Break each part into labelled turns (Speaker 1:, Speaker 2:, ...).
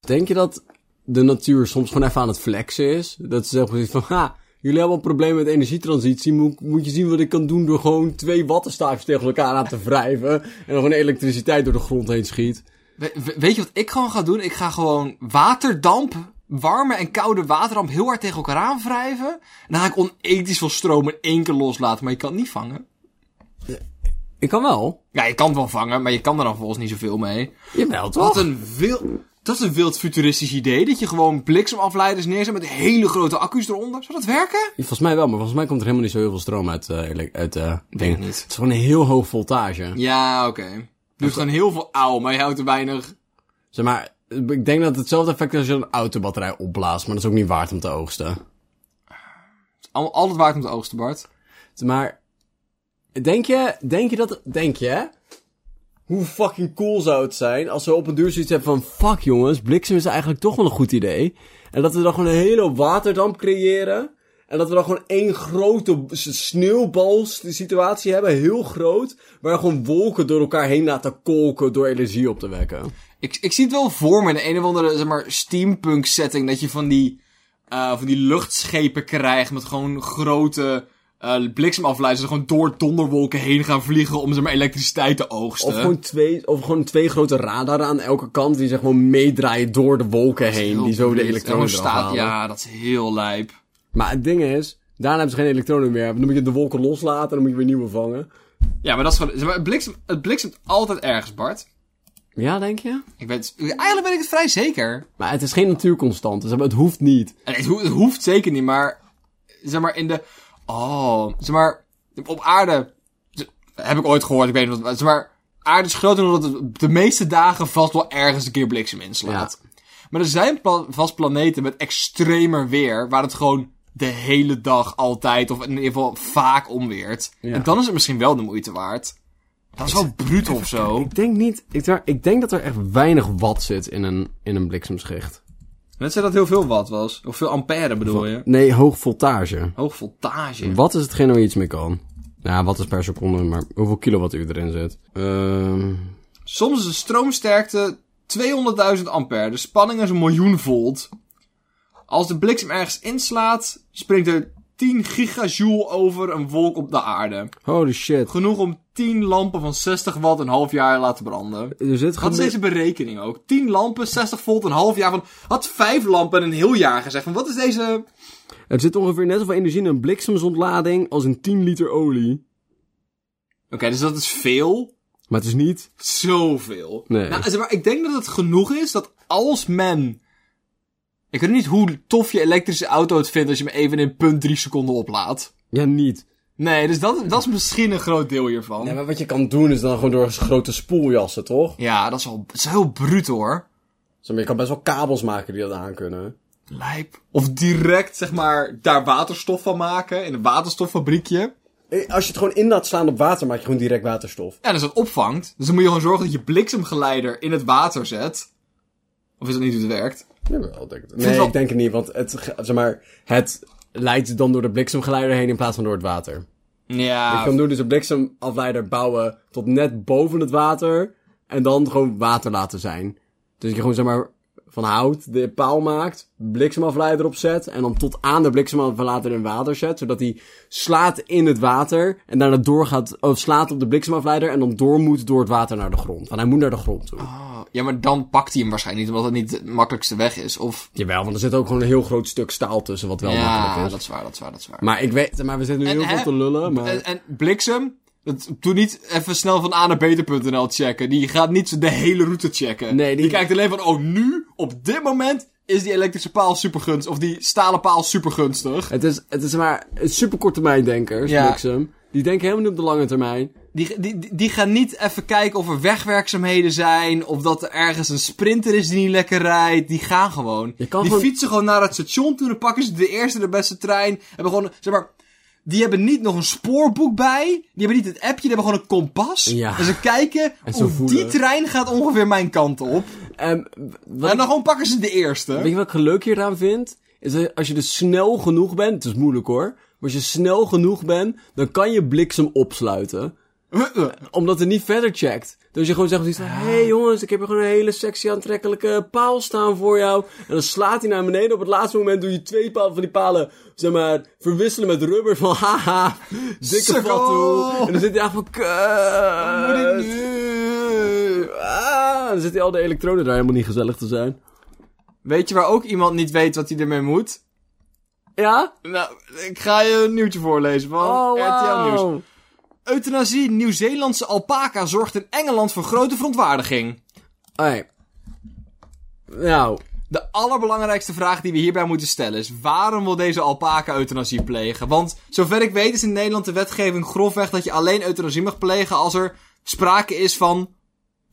Speaker 1: Denk je dat de natuur soms gewoon even aan het flexen is? Dat ze zeggen van, ha, jullie hebben een probleem met energietransitie. Moet, moet je zien wat ik kan doen door gewoon twee wattenstaafjes tegen elkaar aan te wrijven. En dan gewoon elektriciteit door de grond heen schiet.
Speaker 2: We- we- weet je wat ik gewoon ga doen? Ik ga gewoon waterdamp, warme en koude waterdamp heel hard tegen elkaar aan wrijven. En dan ga ik onethisch veel stroom in één keer loslaten, maar je kan het niet vangen.
Speaker 1: Ik kan wel.
Speaker 2: Ja, je kan het wel vangen, maar je kan er dan volgens niet zoveel mee.
Speaker 1: Jawel,
Speaker 2: Wat
Speaker 1: toch?
Speaker 2: een wild... Dat is een wild futuristisch idee, dat je gewoon bliksemafleiders neerzet met hele grote accu's eronder. Zou dat werken?
Speaker 1: Volgens mij wel, maar volgens mij komt er helemaal niet zo heel veel stroom uit, eh ele- uit eh dingen.
Speaker 2: niet.
Speaker 1: Het is gewoon een heel hoog voltage.
Speaker 2: Ja, oké. Dus gewoon heel veel auw, maar je houdt er weinig...
Speaker 1: Zeg maar, ik denk dat het hetzelfde effect is als je een autobatterij opblaast, maar dat is ook niet waard om te oogsten.
Speaker 2: Al- Altijd waard om te oogsten, Bart.
Speaker 1: Maar denk je, denk je dat, denk je, hè? hoe fucking cool zou het zijn als we op een duur zoiets hebben van, fuck jongens, bliksem is eigenlijk toch wel een goed idee. En dat we dan gewoon een hele hoop waterdamp creëren. En dat we dan gewoon één grote s- sneeuwbalsituatie hebben, heel groot. Waar gewoon wolken door elkaar heen laten kolken door energie op te wekken.
Speaker 2: Ik, ik zie het wel voor me in een of andere zeg maar, steampunk setting. Dat je van die, eh, van die luchtschepen krijgt met gewoon grote eh bliksemafleiders. Die gewoon door donderwolken heen gaan vliegen om zeg maar, elektriciteit te oogsten.
Speaker 1: Of gewoon, twee, of gewoon twee grote radaren aan elke kant die zich gewoon meedraaien door de wolken heen. Die zo de
Speaker 2: Heel
Speaker 1: elektronen
Speaker 2: zo'n
Speaker 1: eraf
Speaker 2: staat-
Speaker 1: halen.
Speaker 2: Ja, dat is heel lijp.
Speaker 1: Maar het ding is, daarna hebben ze geen elektronen meer. Dan moet je de wolken loslaten en dan moet je weer nieuwe vangen.
Speaker 2: Ja, maar dat is gewoon... Zeg maar, het, bliksem, het bliksemt altijd ergens, Bart.
Speaker 1: Ja, denk je?
Speaker 2: Ik weet, eigenlijk ben ik het vrij zeker.
Speaker 1: Maar het is geen natuurconstante, dus het hoeft niet.
Speaker 2: En het, ho- het hoeft zeker niet, maar... Zeg maar, in de... Oh, zeg maar... Op aarde... z- Heb ik ooit gehoord, ik weet niet wat... Zeg maar, aarde is groter dan dat het de meeste dagen vast wel ergens een keer bliksem inslaat. Maar er zijn pla- vast planeten met extremer weer... waar het gewoon de hele dag altijd... of in ieder geval vaak omweert. En dan is het misschien wel de moeite waard. Dat is wel bruut of zo.
Speaker 1: Ik denk niet, ik, twa- ik denk dat er echt weinig wat zit in een, in een bliksemschicht.
Speaker 2: Net zei dat heel veel watt was. Of veel ampère bedoel je.
Speaker 1: Nee, hoog voltage.
Speaker 2: Hoog voltage.
Speaker 1: Wat is hetgeen waar je iets mee kan? Nou, wat is per seconde, maar hoeveel kilowattuur erin zit? Ehm
Speaker 2: Soms is de stroomsterkte 200.000 ampère. De spanning is een miljoen volt. Als de bliksem ergens inslaat, springt er 10 gigajoule over een wolk op de aarde.
Speaker 1: holy shit.
Speaker 2: Genoeg om 10 lampen van 60 watt een half jaar te laten branden.
Speaker 1: Er zit
Speaker 2: Wat
Speaker 1: gemi-
Speaker 2: is deze berekening ook? 10 lampen, 60 volt, een half jaar van... Had 5 lampen een heel jaar gezegd. Van wat is deze...
Speaker 1: Er zit ongeveer net zoveel energie in een bliksemsontlading als in 10 liter olie.
Speaker 2: Oké, dus dat is veel.
Speaker 1: Maar het is niet...
Speaker 2: zoveel.
Speaker 1: Nee.
Speaker 2: Nou, zeg maar, ik denk dat het genoeg is dat als men... Ik weet niet hoe tof je elektrische auto het vindt als je hem even in punt drie seconden oplaadt.
Speaker 1: Ja, niet.
Speaker 2: Nee, dus dat, dat is misschien een groot deel hiervan.
Speaker 1: maar wat je kan doen is dan gewoon door grote spoeljassen, toch?
Speaker 2: Ja, dat is wel dat is heel bruut hoor.
Speaker 1: Zeg maar, je kan best wel kabels maken die dat aankunnen.
Speaker 2: Lijp. Of direct, zeg maar, daar waterstof van maken in een waterstoffabriekje.
Speaker 1: Eh, Als je het gewoon in laat slaan op water, maak je gewoon direct waterstof.
Speaker 2: Ja, dus dat opvangt. Dus dan moet je gewoon zorgen dat je bliksemgeleider in het water zet. Of is dat niet hoe het werkt?
Speaker 1: Jawel, denk ik.
Speaker 2: het
Speaker 1: Nee,
Speaker 2: wel-
Speaker 1: ik denk het niet, want het, ge- zeg maar, het leidt dan door de bliksemgeleider heen in plaats van door het water.
Speaker 2: Ja,
Speaker 1: Je kan doen dus een bliksemafleider bouwen tot net boven het water en dan gewoon water laten zijn. Dus je gewoon zeg maar van hout de paal maakt, bliksemafleider opzet en dan tot aan de bliksemafleider in water zet, zodat hij slaat in het water en daarna doorgaat, of slaat op de bliksemafleider en dan door moet door het water naar de grond. Want hij moet naar de grond toe.
Speaker 2: ja, maar dan pakt hij hem waarschijnlijk niet, omdat dat niet de makkelijkste weg is. Of
Speaker 1: Jawel, want er zit ook gewoon een heel groot stuk staal tussen wat wel makkelijk
Speaker 2: ja,
Speaker 1: is.
Speaker 2: dat is waar, dat is waar, dat is waar.
Speaker 1: Maar ik weet, maar we zitten nu
Speaker 2: En
Speaker 1: heel
Speaker 2: hè?
Speaker 1: veel te lullen, maar...
Speaker 2: En, en bliksem, dat, doe niet even snel van a naar beter.nl checken. Die gaat niet de hele route checken.
Speaker 1: Nee, die-
Speaker 2: kijkt alleen van, oh nu, op dit moment, is die elektrische paal super gunstig. Of die stalen paal super gunstig.
Speaker 1: Het is, het is maar superkort termijn denkers,
Speaker 2: Ja.
Speaker 1: bliksem. Die denken helemaal niet op de lange termijn.
Speaker 2: Die, die, die- die gaan niet even kijken of er wegwerkzaamheden zijn. Of dat er ergens een sprinter is die niet lekker rijdt. Die gaan gewoon.
Speaker 1: Je kan
Speaker 2: die
Speaker 1: gewoon-
Speaker 2: fietsen gewoon naar het station toe. Dan pakken ze de eerste de beste trein. Hebben gewoon, zeg maar... Die hebben niet nog een spoorboek bij. Die hebben niet het appje. Die hebben gewoon een kompas.
Speaker 1: Ja.
Speaker 2: En ze kijken
Speaker 1: zo
Speaker 2: of
Speaker 1: voelen.
Speaker 2: die trein gaat ongeveer mijn kant op.
Speaker 1: En Ehm, wat
Speaker 2: En
Speaker 1: ik-
Speaker 2: dan gewoon pakken ze de
Speaker 1: weet
Speaker 2: eerste.
Speaker 1: je wat ik leuk hieraan vind? Is dat als je dus snel genoeg bent, het is moeilijk hoor. Maar als je snel genoeg bent, dan kan je bliksem opsluiten. Omdat het niet verder checkt. Dus je gewoon zegt zoiets van... Hé hey jongens, ik heb hier gewoon een hele sexy aantrekkelijke paal staan voor jou. En dan slaat hij naar beneden. Op het laatste moment doe je twee palen van die palen... Zeg maar, verwisselen met rubber van... Haha, dikke
Speaker 2: Sukkel.
Speaker 1: fatsoe. En dan zit hij echt van...
Speaker 2: Wat moet ik
Speaker 1: Kut.
Speaker 2: nu?
Speaker 1: Ah, dan zitten al de elektronen daar helemaal niet gezellig te zijn.
Speaker 2: Weet je waar ook iemand niet weet wat hij ermee moet?
Speaker 1: Ja?
Speaker 2: Nou, ik ga je een nieuwtje voorlezen van
Speaker 1: Oh,
Speaker 2: RTL Nieuws.
Speaker 1: wow.
Speaker 2: Euthanasie Nieuw-Zeelandse alpaca zorgt in Engeland voor grote verontwaardiging.
Speaker 1: Hey. Nou,
Speaker 2: De allerbelangrijkste vraag die we hierbij moeten stellen is... waarom wil deze alpaca euthanasie plegen? Want zover ik weet is in Nederland de wetgeving grofweg... dat je alleen euthanasie mag plegen als er sprake is van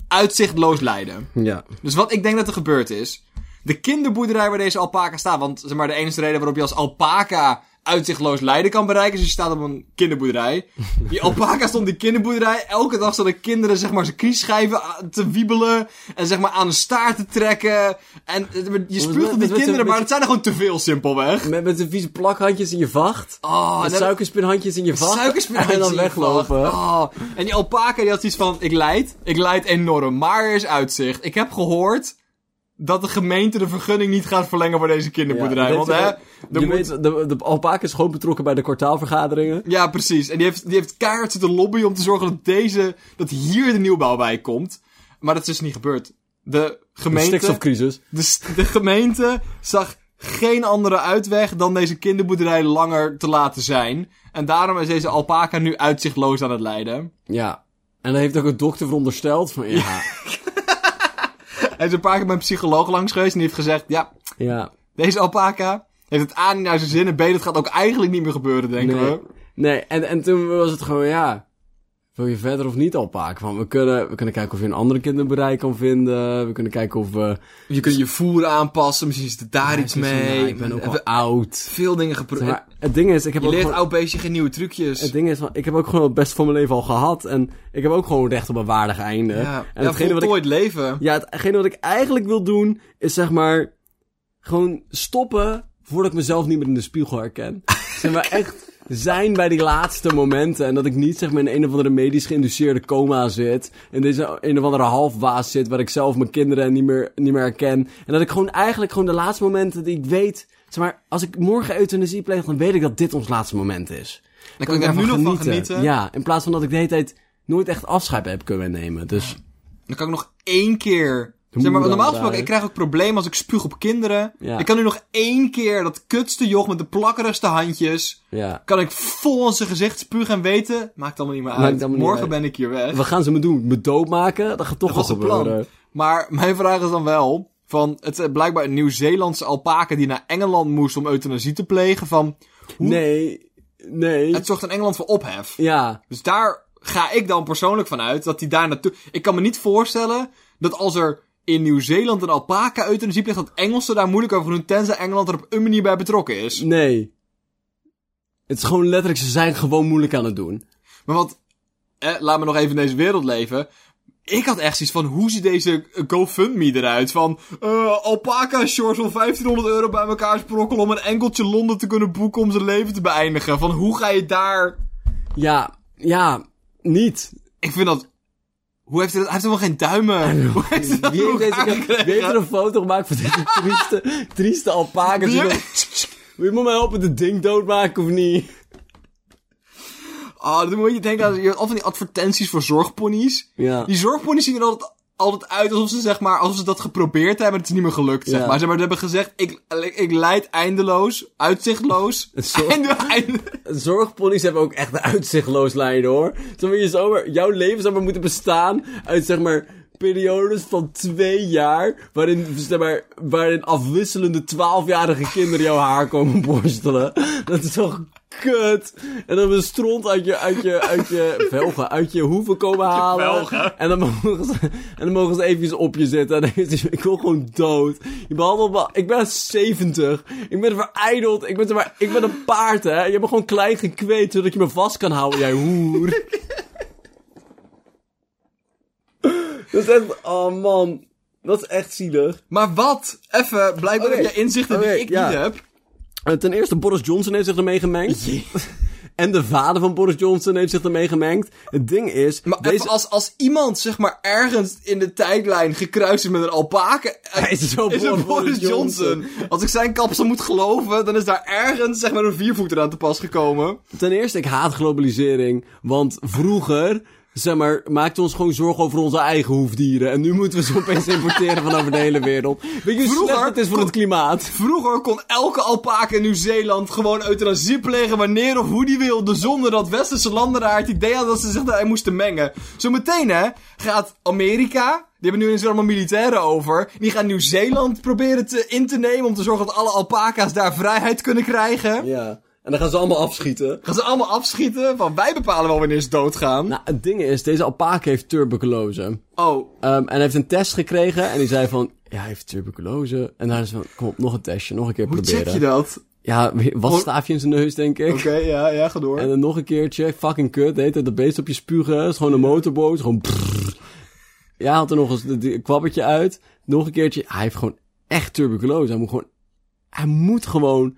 Speaker 2: uitzichtloos lijden.
Speaker 1: ja.
Speaker 2: Dus wat ik denk dat er gebeurd is... de kinderboerderij waar deze alpaca staat... want zeg maar, de enige reden waarop je als alpaca uitzichtloos lijden kan bereiken... is als je staat op een kinderboerderij. Die alpaca stond op die kinderboerderij. Elke dag zaten kinderen zeg maar, zijn knieschijven a- te wiebelen... en zeg maar, aan een staart te trekken. En eh, je spuugt
Speaker 1: met-
Speaker 2: op die
Speaker 1: met-
Speaker 2: kinderen,
Speaker 1: met-
Speaker 2: maar het zijn er gewoon te veel simpelweg.
Speaker 1: Met, met de vieze plakhandjes in je vacht.
Speaker 2: Oh,
Speaker 1: Met
Speaker 2: en dan-
Speaker 1: suikerspinhandjes in je vacht.
Speaker 2: Suikerspinazie.
Speaker 1: En dan weglopen.
Speaker 2: Oh, En die alpaca die had iets van, ik leid, ik leid enorm, maar er is uitzicht. Ik heb gehoord dat de gemeente de vergunning niet gaat verlengen voor deze kinderboerderij.
Speaker 1: Ja,
Speaker 2: want
Speaker 1: weet
Speaker 2: hè,
Speaker 1: je
Speaker 2: er
Speaker 1: wel, je
Speaker 2: moet-
Speaker 1: weet, de, de alpaca is gewoon betrokken bij de kwartaalvergaderingen.
Speaker 2: ja precies. En die heeft, die heeft keihard zitten lobbyen om te zorgen dat deze, dat hier de nieuwbouw bij komt. Maar dat is dus niet gebeurd. De
Speaker 1: De
Speaker 2: gemeente...
Speaker 1: stikstofcrisis.
Speaker 2: De, st- de gemeente zag geen andere uitweg dan deze kinderboerderij langer te laten zijn. En daarom is deze alpaca nu uitzichtloos aan het lijden.
Speaker 1: Ja. En dan heeft ook een dokter verondersteld van, ja,
Speaker 2: Hij is een paar keer bij een psycholoog langs geweest en die heeft gezegd... Ja,
Speaker 1: ja,
Speaker 2: deze alpaca heeft het A niet naar zijn zin en B, dat gaat ook eigenlijk niet meer gebeuren, denken
Speaker 1: nee.
Speaker 2: we.
Speaker 1: Nee, en, en toen was het gewoon, ja, wil je verder of niet alpaca? Want we kunnen, we kunnen kijken of je een andere kinderbereik kan vinden. We kunnen kijken of we...
Speaker 2: Je kunt je voer aanpassen, misschien zit er daar iets mee.
Speaker 1: Ja, ik ben ook al oud.
Speaker 2: veel dingen geprobeerd.
Speaker 1: Maar het ding is, ik heb ook gewoon-
Speaker 2: oud beestje geen nieuwe trucjes.
Speaker 1: Het ding is, ik heb ook gewoon het beste van mijn leven al gehad. En ik heb ook gewoon recht op een waardig einde. en hetgene wat ik,
Speaker 2: leven.
Speaker 1: ja, hetgene wat ik eigenlijk wil doen, is zeg maar... Gewoon stoppen voordat ik mezelf niet meer in de spiegel herken. zeg maar echt zijn bij die laatste momenten. En dat ik niet zeg maar in een of andere medisch geïnduceerde coma zit. In deze een of andere halfwaas zit waar ik zelf mijn kinderen niet meer, niet meer herken. En dat ik gewoon eigenlijk gewoon de laatste momenten die ik weet... Zeg maar, als ik morgen euthanasie pleeg, dan weet ik dat dit ons laatste moment is.
Speaker 2: Dan kan ik daar nu nog van genieten.
Speaker 1: Ja, in plaats van dat ik de hele tijd nooit echt afscheid heb kunnen nemen. Dus
Speaker 2: Dan kan ik nog één keer.
Speaker 1: Doe
Speaker 2: Zeg maar,
Speaker 1: dan
Speaker 2: normaal
Speaker 1: maar.
Speaker 2: gesproken, ik krijg ook problemen als ik spuug op kinderen.
Speaker 1: Ja.
Speaker 2: Ik kan nu nog één keer dat kutste joch met de plakkerigste handjes.
Speaker 1: ja,
Speaker 2: Kan ik vol in zijn gezicht spugen en weten. Maakt allemaal niet meer
Speaker 1: Maakt
Speaker 2: uit.
Speaker 1: allemaal niet
Speaker 2: Morgen
Speaker 1: uit.
Speaker 2: ben ik hier weg.
Speaker 1: wat gaan ze me doen? Me doodmaken? Dat gaat toch wel
Speaker 2: Dat was het plan.
Speaker 1: gebeuren.
Speaker 2: Maar mijn vraag is dan wel. Van, het is blijkbaar een Nieuw-Zeelandse alpaca die naar Engeland moest om euthanasie te plegen. Van, Hoe-
Speaker 1: Nee, nee.
Speaker 2: het zorgt in Engeland voor ophef.
Speaker 1: Ja,
Speaker 2: Dus daar ga ik dan persoonlijk van uit dat hij daar naartoe. Ik kan me niet voorstellen dat als er in Nieuw-Zeeland een alpaca euthanasie ligt, dat Engelsen daar moeilijk over doen, tenzij Engeland er op een manier bij betrokken is.
Speaker 1: nee. Het is gewoon letterlijk, ze zijn gewoon moeilijk aan het doen.
Speaker 2: Maar wat, eh, laat me nog even in deze wereld leven. Ik had echt zoiets van, hoe ziet deze GoFundMe eruit? Van, eh, alpaca shorts van 1500 euro bij elkaar sprokkelen om een enkeltje Londen te kunnen boeken om zijn leven te beëindigen. Van, hoe ga je daar...
Speaker 1: Ja, ja, niet.
Speaker 2: Ik vind dat... Hoe heeft hij dat... Hij heeft helemaal geen duimen. Hoe heeft hij dat
Speaker 1: Wie heeft,
Speaker 2: voor
Speaker 1: deze,
Speaker 2: elkaar gekregen?
Speaker 1: wie heeft er een foto gemaakt van deze trieste, trieste alpaca?
Speaker 2: Wie-
Speaker 1: Wil je me helpen de ding doodmaken of niet?
Speaker 2: Ah, dat moet je denken aan je hebt al van die advertenties voor zorgponies.
Speaker 1: Ja.
Speaker 2: Die zorgponies zien er altijd, altijd uit alsof ze zeg maar, alsof ze dat geprobeerd hebben en het is niet meer gelukt, zeg
Speaker 1: Ja.
Speaker 2: maar. Ze hebben, ze hebben gezegd, ik, ik leid eindeloos, uitzichtloos.
Speaker 1: Zo-
Speaker 2: Einde, einde-
Speaker 1: Zorgponies hebben ook echt een uitzichtloos lijden hoor. Zeg maar, je zou maar- jouw leven zou maar moeten bestaan uit zeg maar periodes van twee jaar. Waarin, zeg maar, waarin afwisselende twaalfjarige kinderen jouw haar komen borstelen. Dat is toch kut. En dan een stront uit je, uit je, uit je velgen, uit je hoeven komen halen.
Speaker 2: velgen.
Speaker 1: En dan mogen ze, en dan mogen ze even op je zitten. En dan heeft hij- ik wil gewoon dood. Je behandelt me, ik ben 70. Ik ben verijdeld. Ik ben, zeg maar, ik ben een paard, hè. Je hebt me gewoon klein gekweekt, zodat je me vast kan houden, jij hoer. dat is echt, oh man. Dat is echt zielig.
Speaker 2: Maar wat? Even, blijkbaar
Speaker 1: Oké.
Speaker 2: heb jij inzichten
Speaker 1: Oké,
Speaker 2: die ik
Speaker 1: ja.
Speaker 2: niet heb.
Speaker 1: Eh, Ten eerste, Boris Johnson heeft zich ermee gemengd. En de vader van Boris Johnson heeft zich ermee gemengd. Het ding is...
Speaker 2: Maar
Speaker 1: deze...
Speaker 2: even als, als iemand, zeg maar, ergens in de tijdlijn gekruist is met een alpaken...
Speaker 1: Hij is zo
Speaker 2: is het Boris Johnson. Als ik zijn kapsel moet geloven, dan is daar ergens, zeg maar, een viervoeter aan te pas gekomen.
Speaker 1: Ten eerste, ik haat globalisering. Want vroeger, zeg maar, maakten we ons gewoon zorgen over onze eigen hoefdieren. En nu moeten we ze opeens importeren van over de hele wereld. Weet je hoe
Speaker 2: Vroeger
Speaker 1: slecht het is voor
Speaker 2: kon-
Speaker 1: het klimaat?
Speaker 2: Vroeger kon elke alpaken in Nieuw-Zeeland gewoon euthanasie plegen wanneer of hoe die wilde. Zonder dat westerse landen daar het idee hadden dat ze zich daarin moesten mengen. Zometeen hè, gaat Amerika, die hebben nu eens allemaal militairen over. Die gaan Nieuw-Zeeland proberen te, in te nemen om te zorgen dat alle alpaca's daar vrijheid kunnen krijgen.
Speaker 1: Ja. En dan gaan ze allemaal afschieten.
Speaker 2: Gaan ze allemaal afschieten, van wij bepalen wel wanneer ze doodgaan.
Speaker 1: Nou, het ding is, deze alpaca heeft tuberculose.
Speaker 2: Oh,
Speaker 1: Ehm, en hij heeft een test gekregen en die zei van... Ja, hij heeft tuberculose. En daar is van, kom op, nog een testje, nog een keer
Speaker 2: hoe
Speaker 1: proberen.
Speaker 2: check je dat?
Speaker 1: Ja, wat staafje in zijn neus, denk ik.
Speaker 2: Oké, ja, ja, ga door.
Speaker 1: En dan nog een keertje, fucking kut, heet het, dat beest op je spugen, is gewoon een motorboot, gewoon prrr. Ja, had er nog eens een een kwabbertje uit. Nog een keertje, hij heeft gewoon echt tuberculose. Hij moet gewoon, hij moet gewoon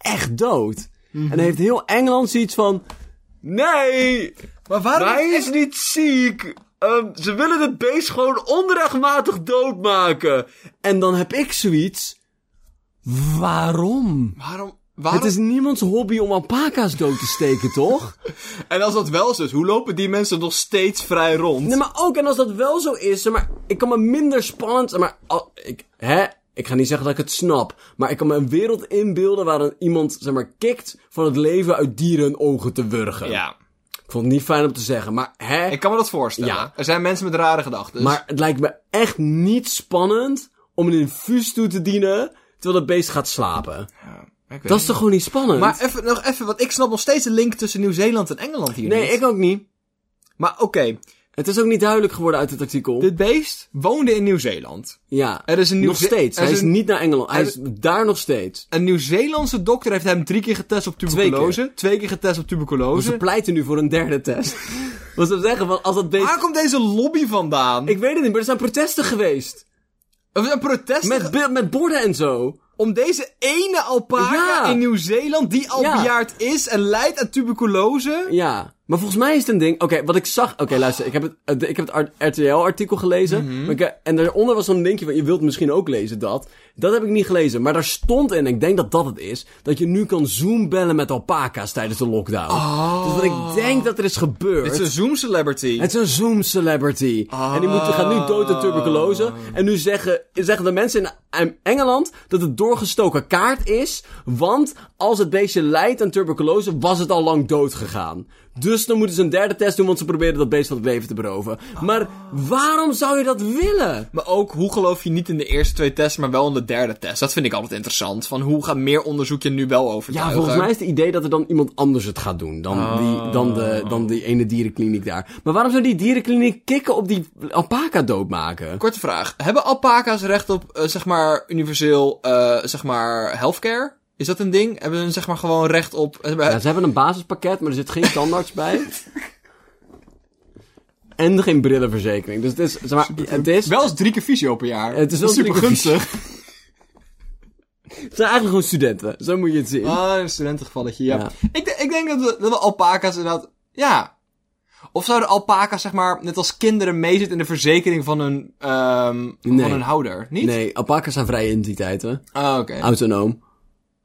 Speaker 1: echt dood. En hij heeft heel Engeland zoiets van, nee,
Speaker 2: Maar waarom
Speaker 1: Wij-
Speaker 2: is-
Speaker 3: Hij is niet ziek. Ehm, ze willen het beest gewoon onrechtmatig doodmaken.
Speaker 1: en dan heb ik zoiets, waarom?
Speaker 2: Waarom? waarom...
Speaker 1: Het is niemands hobby om alpaca's dood te steken, toch?
Speaker 2: En als dat wel zo is, hoe lopen die mensen nog steeds vrij rond?
Speaker 1: Nee, maar ook, en als dat wel zo is, zeg maar ik kan me minder spannend, zeg maar, al- ik, hè? Ik ga niet zeggen dat ik het snap, maar ik kan me een wereld inbeelden waar een, iemand, zeg maar, kikt van het leven uit dieren hun ogen te wurgen.
Speaker 2: Ja,
Speaker 1: Ik vond het niet fijn om te zeggen, maar hè?
Speaker 2: ik kan me dat voorstellen.
Speaker 1: Ja.
Speaker 2: Er zijn mensen met rare gedachten. dus-
Speaker 1: Maar het lijkt me echt niet spannend om een infuus toe te dienen terwijl het beest gaat slapen. Dat is toch gewoon niet spannend?
Speaker 2: Maar even, nog even, want ik snap nog steeds de link tussen Nieuw-Zeeland en Engeland hier
Speaker 1: nee,
Speaker 2: niet.
Speaker 1: ik ook niet.
Speaker 2: Maar oké,
Speaker 1: Het is ook niet duidelijk geworden uit het artikel.
Speaker 2: dit beest woonde in Nieuw-Zeeland.
Speaker 1: ja,
Speaker 2: Er is een
Speaker 1: nog
Speaker 2: Nieuw-
Speaker 1: steeds.
Speaker 2: er is
Speaker 1: Hij is
Speaker 2: een-
Speaker 1: niet naar Engeland. Hij
Speaker 2: er-
Speaker 1: is daar nog steeds.
Speaker 2: Een Nieuw-Zeelandse dokter heeft hem drie keer getest op tuberculose. Twee keer, getest op
Speaker 1: Dus
Speaker 2: tuberculose.
Speaker 1: ze pleiten nu voor een derde test. Wat ze zeggen, want als dat beest...
Speaker 2: Waar komt deze lobby vandaan?
Speaker 1: Ik weet het niet, maar er zijn protesten geweest.
Speaker 2: Een protest
Speaker 1: Met, be- met borden en zo.
Speaker 2: om deze ene alpaca
Speaker 1: Ja.
Speaker 2: in Nieuw-Zeeland, die al
Speaker 1: Ja.
Speaker 2: bejaard is en lijdt aan tuberculose.
Speaker 1: Ja. Maar volgens mij is het een ding... Oké, wat ik zag... Oké, luister. Ik heb het, eh, ik heb het art- RTL-artikel gelezen. Maar ik, eh, en daaronder was zo'n linkje van... Je wilt misschien ook lezen dat. Dat heb ik niet gelezen. Maar daar stond in, en ik denk dat dat het is... Dat je nu kan zoombellen met alpaca's tijdens de lockdown. Dus wat ik denk dat er is gebeurd...
Speaker 2: Het is een Zoom-celebrity.
Speaker 1: Het is een Zoom-celebrity. En die moet, gaat nu dood aan tuberculose. En nu zeggen, zeggen de mensen in- in Engeland dat het doorgestoken kaart is. Want als het beestje lijdt aan tuberculose, was het al lang dood gegaan. Dus dan moeten ze een derde test doen, want ze proberen dat beest van het leven te beroven. Maar waarom zou je dat willen?
Speaker 2: Maar ook, hoe geloof je niet in de eerste twee tests, maar wel in de derde test? Dat vind ik altijd interessant. Van hoe gaat meer onderzoek je nu wel
Speaker 1: Ja,
Speaker 2: overtuigen?
Speaker 1: volgens mij is het idee dat er dan iemand anders het gaat doen dan, die, dan, de, dan die ene dierenkliniek daar. Maar waarom zou die dierenkliniek kikken op die alpaca doodmaken?
Speaker 2: Korte vraag. Hebben alpaca's recht op, eh, zeg maar, universeel, eh, zeg maar, healthcare? Is dat een ding? Hebben ze, zeg maar, gewoon recht op... eh,
Speaker 1: Ja, ze hebben een basispakket, maar er zit geen tandarts bij. En geen brillenverzekering. Dus het is, zeg maar, het is...
Speaker 2: Wel eens drie keer fysio per jaar.
Speaker 1: Het is wel
Speaker 2: Dat super
Speaker 1: drie keer
Speaker 2: gunstig.
Speaker 1: Het zijn eigenlijk gewoon studenten. Zo moet je het zien.
Speaker 2: Ah, een studentengevalletje, ja.
Speaker 1: Ja.
Speaker 2: Ik, de- ik denk dat we, dat we alpaca's inderdaad... Ja. Of zouden alpaca's, zeg maar, net als kinderen meezitten in de verzekering van hun, ehm,
Speaker 1: Nee.
Speaker 2: van hun houder? Niet?
Speaker 1: Nee, alpakas zijn vrije entiteiten.
Speaker 2: Ah, oké.
Speaker 1: Autonoom.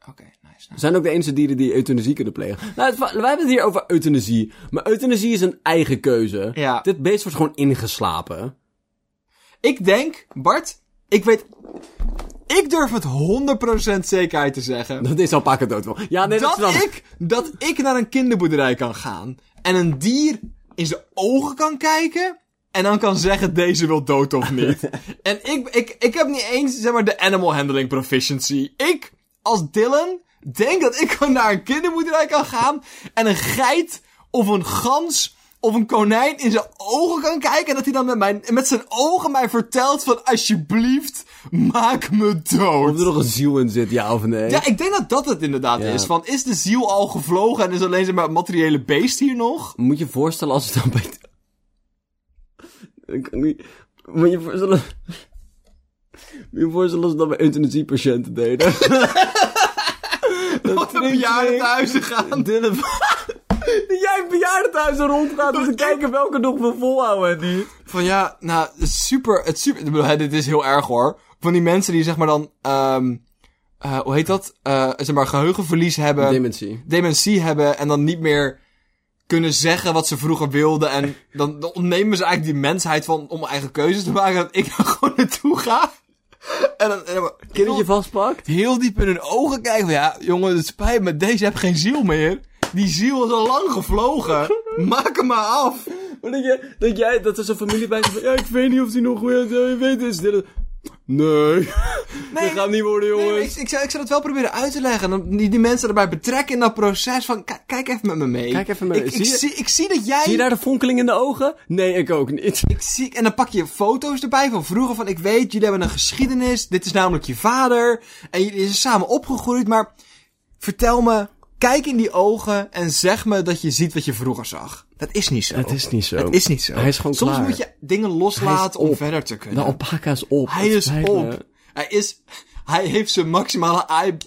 Speaker 2: Oké, nice.
Speaker 1: Ze zijn ook de enige dieren die euthanasie kunnen plegen. Nou, het va- wij hebben het hier over euthanasie. Maar euthanasie is een eigen keuze.
Speaker 2: Ja.
Speaker 1: Dit beest wordt gewoon ingeslapen.
Speaker 2: Ik denk, Bart, ik weet. Ik durf het 100% zekerheid te zeggen.
Speaker 1: Dat is alpaca dood wel. Ja, nee, dat,
Speaker 2: Dat
Speaker 1: snap ik.
Speaker 2: ik, dat ik naar een kinderboerderij kan gaan. En een dier in zijn ogen kan kijken. En dan kan zeggen: deze wil dood of niet. en ik, ik, ik heb niet eens zeg maar, de animal handling proficiency. Ik, als Dylan, denk dat ik gewoon naar een kinderboerderij kan gaan. En een geit of een gans of een konijn in zijn ogen kan kijken. En dat hij dan met, mijn, met zijn ogen mij vertelt: van alsjeblieft, maak me dood.
Speaker 1: Of er nog een ziel in zit, ja of nee.
Speaker 2: Ja, ik denk dat dat het inderdaad
Speaker 1: Ja.
Speaker 2: is. Van, is de ziel al gevlogen en is alleen zeg maar het materiële beest hier nog?
Speaker 1: Moet je voorstellen als het dan bij... Ik kan niet... Moet je voorstellen... Moet je voorstellen als het dan bij euthanasiepatiënten deden?
Speaker 2: Wat een bejaarden thuis te gaan.
Speaker 1: Dylan... jij in bejaardenhuizen rondgaat om te kijken welke nog wil volhouden en niet.
Speaker 2: Van ja, nou, het is super, het super, ik bedoel, hè, dit is heel erg hoor. Van die mensen die zeg maar dan, ehm eh, hoe heet dat? Eh, zeg maar geheugenverlies hebben,
Speaker 1: Dementie.
Speaker 2: dementie hebben en dan niet meer kunnen zeggen wat ze vroeger wilden. En dan, dan ontnemen ze eigenlijk die mensheid van, om eigen keuzes te maken, dat ik daar gewoon naartoe ga. En dan, en dan
Speaker 1: Kindertje vastpakt.
Speaker 2: heel diep in hun ogen kijken. van, Ja, jongen, het spijt me, deze heeft geen ziel meer. Die ziel is al lang gevlogen. Maak hem maar af.
Speaker 1: Maar dat, jij, dat, jij, dat er zo'n familie bij zit van, ja, ik weet niet of die nog weer, je weet is dit het. Nee, dat gaat niet worden,
Speaker 2: Nee,
Speaker 1: jongens.
Speaker 2: maar ik, ik, zou, ik zou dat wel proberen uit te leggen. En dan die, die mensen erbij betrekken in dat proces van... ki- Kijk even met me mee.
Speaker 1: Kijk even met me-
Speaker 2: Ik, ik,
Speaker 1: zie je-
Speaker 2: zie, ik zie dat jij...
Speaker 1: Zie je daar de fonkeling in de ogen? Nee, ik ook niet.
Speaker 2: Ik zie, en dan pak je foto's erbij van vroeger. Van ik weet, jullie hebben een geschiedenis. Dit is namelijk je vader. En jullie zijn samen opgegroeid. Maar vertel me... Kijk in die ogen en zeg me dat je ziet wat je vroeger zag. Dat is niet zo.
Speaker 1: Het is niet zo.
Speaker 2: Het is niet zo.
Speaker 1: Hij is gewoon
Speaker 2: Soms
Speaker 1: klaar.
Speaker 2: moet je dingen loslaten om verder te kunnen.
Speaker 1: De alpaca is Nou, op. eh,
Speaker 2: Hij
Speaker 1: Het
Speaker 2: is
Speaker 1: spijt me.
Speaker 2: op. Hij, is, hij heeft zijn maximale aai-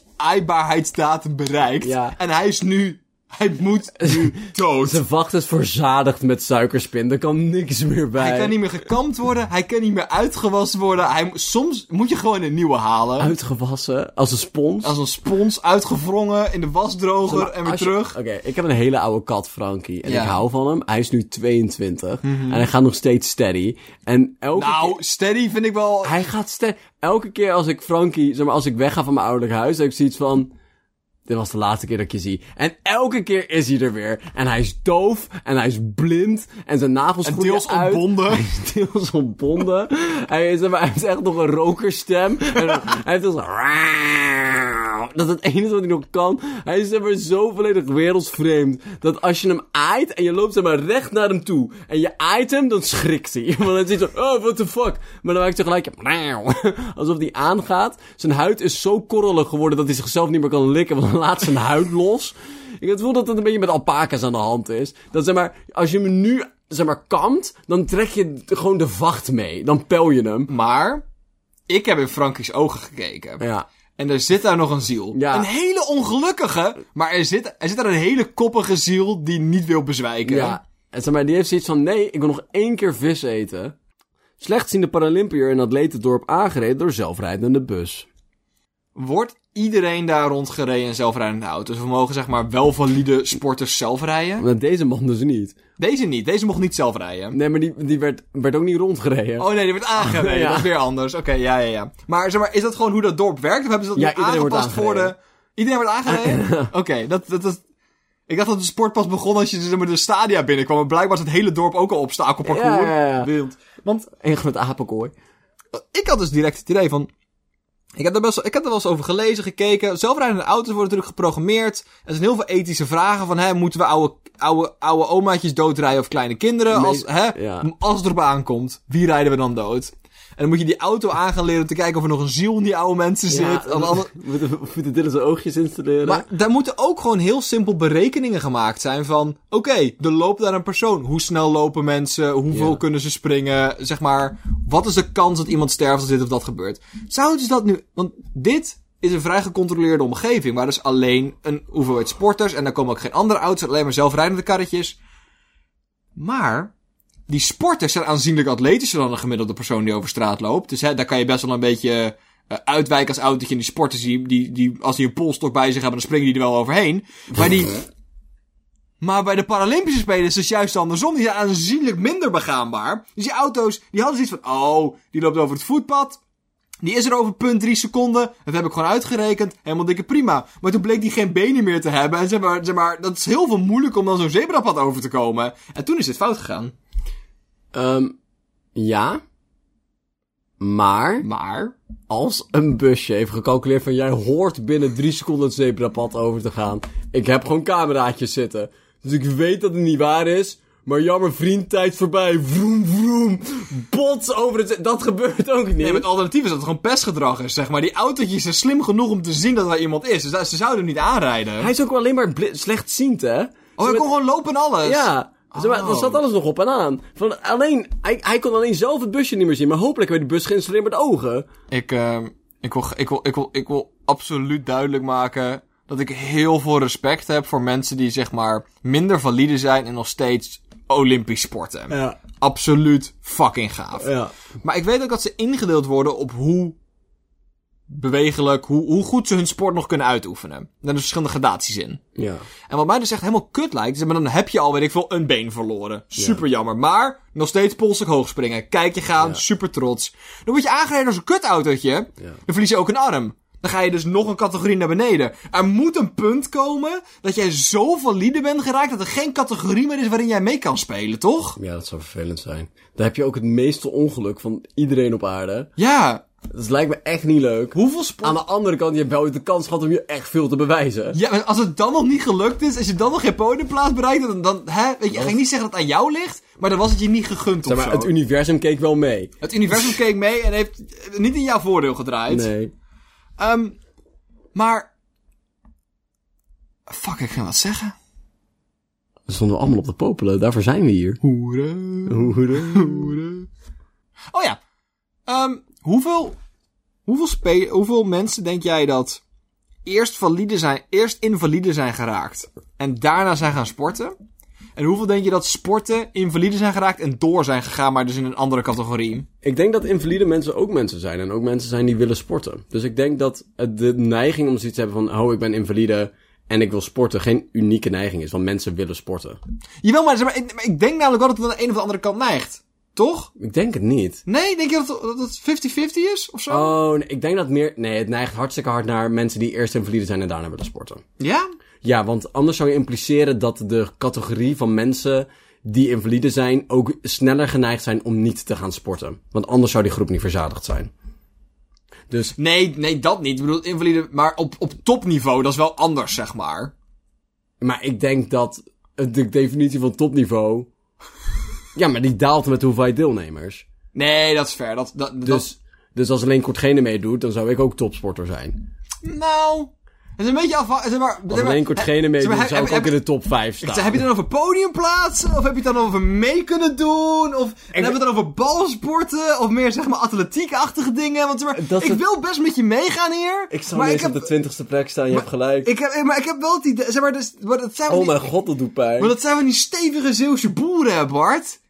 Speaker 2: aaibaarheidsdatum bereikt.
Speaker 1: Ja.
Speaker 2: En hij is nu... Hij moet nu dood.
Speaker 1: Zijn vacht is verzadigd met suikerspin. Er kan niks meer bij.
Speaker 2: Hij kan niet meer gekamd worden. Hij kan niet meer uitgewassen worden. Hij, mo- soms moet je gewoon een nieuwe halen.
Speaker 1: Uitgewassen, als een spons.
Speaker 2: Als een spons, uitgewrongen, in de wasdroger en weer
Speaker 1: Als je-
Speaker 2: terug.
Speaker 1: Oké, ik heb een hele oude kat, Frankie. En
Speaker 2: Ja. Mhm.
Speaker 1: ik hou van hem. Hij is nu 22. En hij gaat nog steeds steady. En elke keer...
Speaker 2: Nou, steady vind ik wel...
Speaker 1: Hij gaat steady. Elke keer als ik Frankie... Zeg maar, als ik wegga van mijn ouderlijk huis... heb ik zoiets van... Dit was de laatste keer dat ik je zie. En elke keer is hij er weer. En hij is doof. En hij is blind. En zijn nagels
Speaker 2: En
Speaker 1: groeien
Speaker 2: deels
Speaker 1: uit.
Speaker 2: ontbonden.
Speaker 1: deels ontbonden. hij, is, hij heeft echt nog een rokerstem. En hij heeft dus... Dat is het enige wat hij nog kan. Hij is zeg maar zo volledig wereldsvreemd. Dat als je hem aait en je loopt zeg maar recht naar hem toe. En je aait hem, dan schrikt hij. Want dan zit hij zo... Oh, what the fuck. Maar dan maakt hij tegelijk... Alsof hij aangaat. Zijn huid is zo korrelig geworden dat hij zichzelf niet meer kan likken. Want dan laat zijn huid los. Ik heb het gevoel dat dat een beetje met alpakas aan de hand is. Dat zeg maar... Als je hem nu zeg maar, kamt, dan trek je t- gewoon de vacht mee. Dan pel je hem.
Speaker 2: Maar, ik heb in Frankie's ogen gekeken.
Speaker 1: Ja.
Speaker 2: En er zit daar nog een ziel.
Speaker 1: Ja.
Speaker 2: Een hele ongelukkige, maar er zit, er zit daar een hele koppige ziel die niet wil bezwijken.
Speaker 1: Ja. En zeg maar, die heeft zoiets van, nee, ik wil nog één keer vis eten. Slechtziende Paralympiër in atletendorp aangereden door zelfrijdende bus.
Speaker 2: Wordt iedereen daar rondgereden in zelfrijdende auto's? Of mogen zeg maar wel valide sporters zelf rijden?
Speaker 1: Maar deze man dus niet.
Speaker 2: Deze niet, deze mocht niet zelf rijden.
Speaker 1: Nee, maar die, die werd, werd ook niet rondgereden.
Speaker 2: Oh nee, die werd aangereden,
Speaker 1: Ja.
Speaker 2: dat is weer anders. Oké, ja, ja, ja. Maar zeg maar, is dat gewoon hoe dat dorp werkt? Of hebben ze dat
Speaker 1: Ja,
Speaker 2: nog
Speaker 1: iedereen wordt
Speaker 2: aangepast voor de...
Speaker 1: aangereden.
Speaker 2: Iedereen wordt aangereden? Oké, dat, dat, dat... Ik dacht dat de sport pas begon als je zeg maar, de stadia binnenkwam. Maar blijkbaar is het hele dorp ook al obstakelparcours.
Speaker 1: Ja, ja, ja.
Speaker 2: Wild. Want
Speaker 1: Een groot apenkooi.
Speaker 2: ik had dus direct het idee van. Ik heb, er best, wel- ik heb er wel eens over gelezen, gekeken. Zelfrijdende auto's worden natuurlijk geprogrammeerd. Er zijn heel veel ethische vragen van... Hè, moeten we oude, oude, oude omaatjes doodrijden of kleine kinderen? Als, hè,
Speaker 1: ja.
Speaker 2: als het erop aankomt, wie rijden we dan dood? En dan moet je die auto aan gaan leren om te kijken of er nog een ziel in die oude mensen zit. En alles-
Speaker 1: we we moeten dit in zijn oogjes installeren.
Speaker 2: maar daar moeten ook gewoon heel simpel berekeningen gemaakt zijn van... Oké, er loopt daar een persoon. Hoe snel lopen mensen? Hoeveel
Speaker 1: Ja.
Speaker 2: kunnen ze springen? Zeg maar, wat is de kans dat iemand sterft als dit of dat gebeurt? Zouden ze dat nu... Want dit is een vrij gecontroleerde omgeving... waar dus alleen een hoeveelheid sporters... en daar komen ook geen andere auto's, alleen maar zelfrijdende karretjes. Maar... Die sporters zijn aanzienlijk atletischer dan een gemiddelde persoon die over straat loopt. Dus hè, daar kan je best wel een beetje eh, uitwijken als autootje. En die sporters, die, die, die, als die een polstok bij zich hebben, dan springen die er wel overheen. Maar, die, maar bij de Paralympische Spelen is het juist andersom. Die zijn aanzienlijk minder begaanbaar. Dus die auto's, die hadden zoiets van... Oh, die loopt over het voetpad. Die is er over punt drie seconden. Dat heb ik gewoon uitgerekend. Helemaal dikke prima. Maar toen bleek die geen benen meer te hebben. En zeg maar, zeg maar dat is heel veel moeilijk om dan zo'n zebrapad over te komen. En toen is het fout gegaan.
Speaker 1: Ehm, ja. Maar...
Speaker 2: Maar...
Speaker 1: als een busje heeft gecalculeerd van jij hoort binnen drie seconden het zebrapad over te gaan. Ik heb gewoon cameraatjes zitten. Dus ik weet dat het niet waar is. Maar jammer vriend, tijd voorbij. Vroom, vroom. Bots over het... ze- Dat gebeurt ook niet.
Speaker 2: Nee, maar het alternatief is dat het gewoon pestgedrag is, zeg maar. Die autootjes zijn slim genoeg om te zien dat er iemand is. Dus dat- ze zouden hem niet aanrijden.
Speaker 1: Hij is ook alleen maar bli- slechtziend, hè?
Speaker 2: oh, hij kon gewoon lopen en alles.
Speaker 1: Ja. Zeg maar,
Speaker 2: Oh.
Speaker 1: Dan zat alles nog op en aan. Van alleen, hij, hij kon alleen zelf het busje niet meer zien. Maar hopelijk werd de bus geïnstalleerd met ogen.
Speaker 2: Ik, ehm ik, wil, ik, wil, ik, wil, ik wil absoluut duidelijk maken dat ik heel veel respect heb voor mensen die zeg maar minder valide zijn en nog steeds Olympisch sporten.
Speaker 1: Ja.
Speaker 2: Absoluut fucking gaaf.
Speaker 1: Ja.
Speaker 2: Maar ik weet ook dat ze ingedeeld worden op hoe bewegelijk, hoe, hoe goed ze hun sport nog kunnen uitoefenen. Daar zijn verschillende gradaties in.
Speaker 1: Ja.
Speaker 2: En wat mij dus echt helemaal kut lijkt, is maar dan heb je al, weet ik veel, een been verloren. Super jammer. Maar nog steeds polsig hoog springen. Kijk je gaan, super trots. Dan word je aangereden door zo'n kutautootje. Dan verlies je ook een arm. Dan ga je dus nog een categorie naar beneden. Er moet een punt komen dat jij zo valide bent geraakt dat er geen categorie meer is waarin jij mee kan spelen, toch?
Speaker 1: Ja, dat zou vervelend zijn. Daar heb je ook het meeste ongeluk van iedereen op aarde.
Speaker 2: Ja.
Speaker 1: Dat Dus lijkt me echt niet leuk.
Speaker 2: Hoeveel sport...
Speaker 1: Aan de andere kant, je hebt wel de kans gehad om je echt veel te bewijzen.
Speaker 2: Ja, maar als het dan nog niet gelukt is, als je dan nog geen podiumplaats bereikt, dan, dan hè, weet je, ga ik niet zeggen dat het aan jou ligt, maar dan was het je niet gegund
Speaker 1: Zeg
Speaker 2: of
Speaker 1: maar,
Speaker 2: zo.
Speaker 1: het universum keek wel mee.
Speaker 2: Het universum keek mee en heeft niet in jouw voordeel gedraaid.
Speaker 1: Nee.
Speaker 2: Ehm, maar. Fuck, ik ga wat zeggen.
Speaker 1: We stonden allemaal op de popelen, daarvoor zijn we hier.
Speaker 2: Hoera. Oh ja. Ehm, hoeveel. Hoeveel, spe- hoeveel mensen denk jij dat. Eerst, valide zijn, eerst invalide zijn geraakt. En daarna zijn gaan sporten? En hoeveel denk je dat sporten invalide zijn geraakt en door zijn gegaan, maar dus in een andere categorie?
Speaker 1: Ik denk dat invalide mensen ook mensen zijn. En ook mensen zijn die willen sporten. Dus ik denk dat het de neiging om zoiets te hebben van... Oh, ik ben invalide en ik wil sporten. Geen unieke neiging is. Want mensen willen sporten.
Speaker 2: Jawel, maar, zeg maar, ik, maar ik denk namelijk wel dat het aan de een of de andere kant neigt. Toch?
Speaker 1: Ik denk het niet.
Speaker 2: Nee, denk je dat het- dat het 50-50 is of zo?
Speaker 1: Oh, nee, ik denk dat meer... Nee, het neigt hartstikke hard naar mensen die eerst invalide zijn en daarna willen sporten.
Speaker 2: Ja?
Speaker 1: Ja, want anders zou je impliceren dat de categorie van mensen die invalide zijn... ook sneller geneigd zijn om niet te gaan sporten. Want anders zou die groep niet verzadigd zijn. Dus
Speaker 2: Nee, nee, dat niet. Ik bedoel, invalide, maar op, op topniveau, dat is wel anders, zeg maar.
Speaker 1: Maar ik denk dat de definitie van topniveau. ja, maar die daalt met de hoeveelheid deelnemers.
Speaker 2: Nee, dat is ver. Dat, dat,
Speaker 1: Dus, dus als alleen Kortgene meedoet, dan zou ik ook topsporter zijn.
Speaker 2: dat- nou, het is een beetje afhankelijk. Zeg maar,
Speaker 1: Als
Speaker 2: zeg maar,
Speaker 1: alleen Kortgene
Speaker 2: he- zeg
Speaker 1: meedoet,
Speaker 2: maar,
Speaker 1: zou ik
Speaker 2: heb-
Speaker 1: ook
Speaker 2: heb-
Speaker 1: in de top 5
Speaker 2: ik
Speaker 1: staan.
Speaker 2: zei, Heb je het dan over podiumplaatsen? Of heb je het dan over mee kunnen doen? Of dan hebben we het dan over balsporten? Of meer, zeg maar, atletiekachtige dingen? Want zeg maar,
Speaker 1: Dat
Speaker 2: ik
Speaker 1: het-
Speaker 2: wil best met je meegaan hier. maar ik heb,
Speaker 1: twintigste plek staan, je hebt gelijk. Oh
Speaker 2: ik heb, maar ik heb wel het idee, zeg maar, dus, maar dat zijn we niet-
Speaker 1: god, dat doet pijn.
Speaker 2: Maar dat zijn van die stevige Zeeuwse boeren, hè, Bart.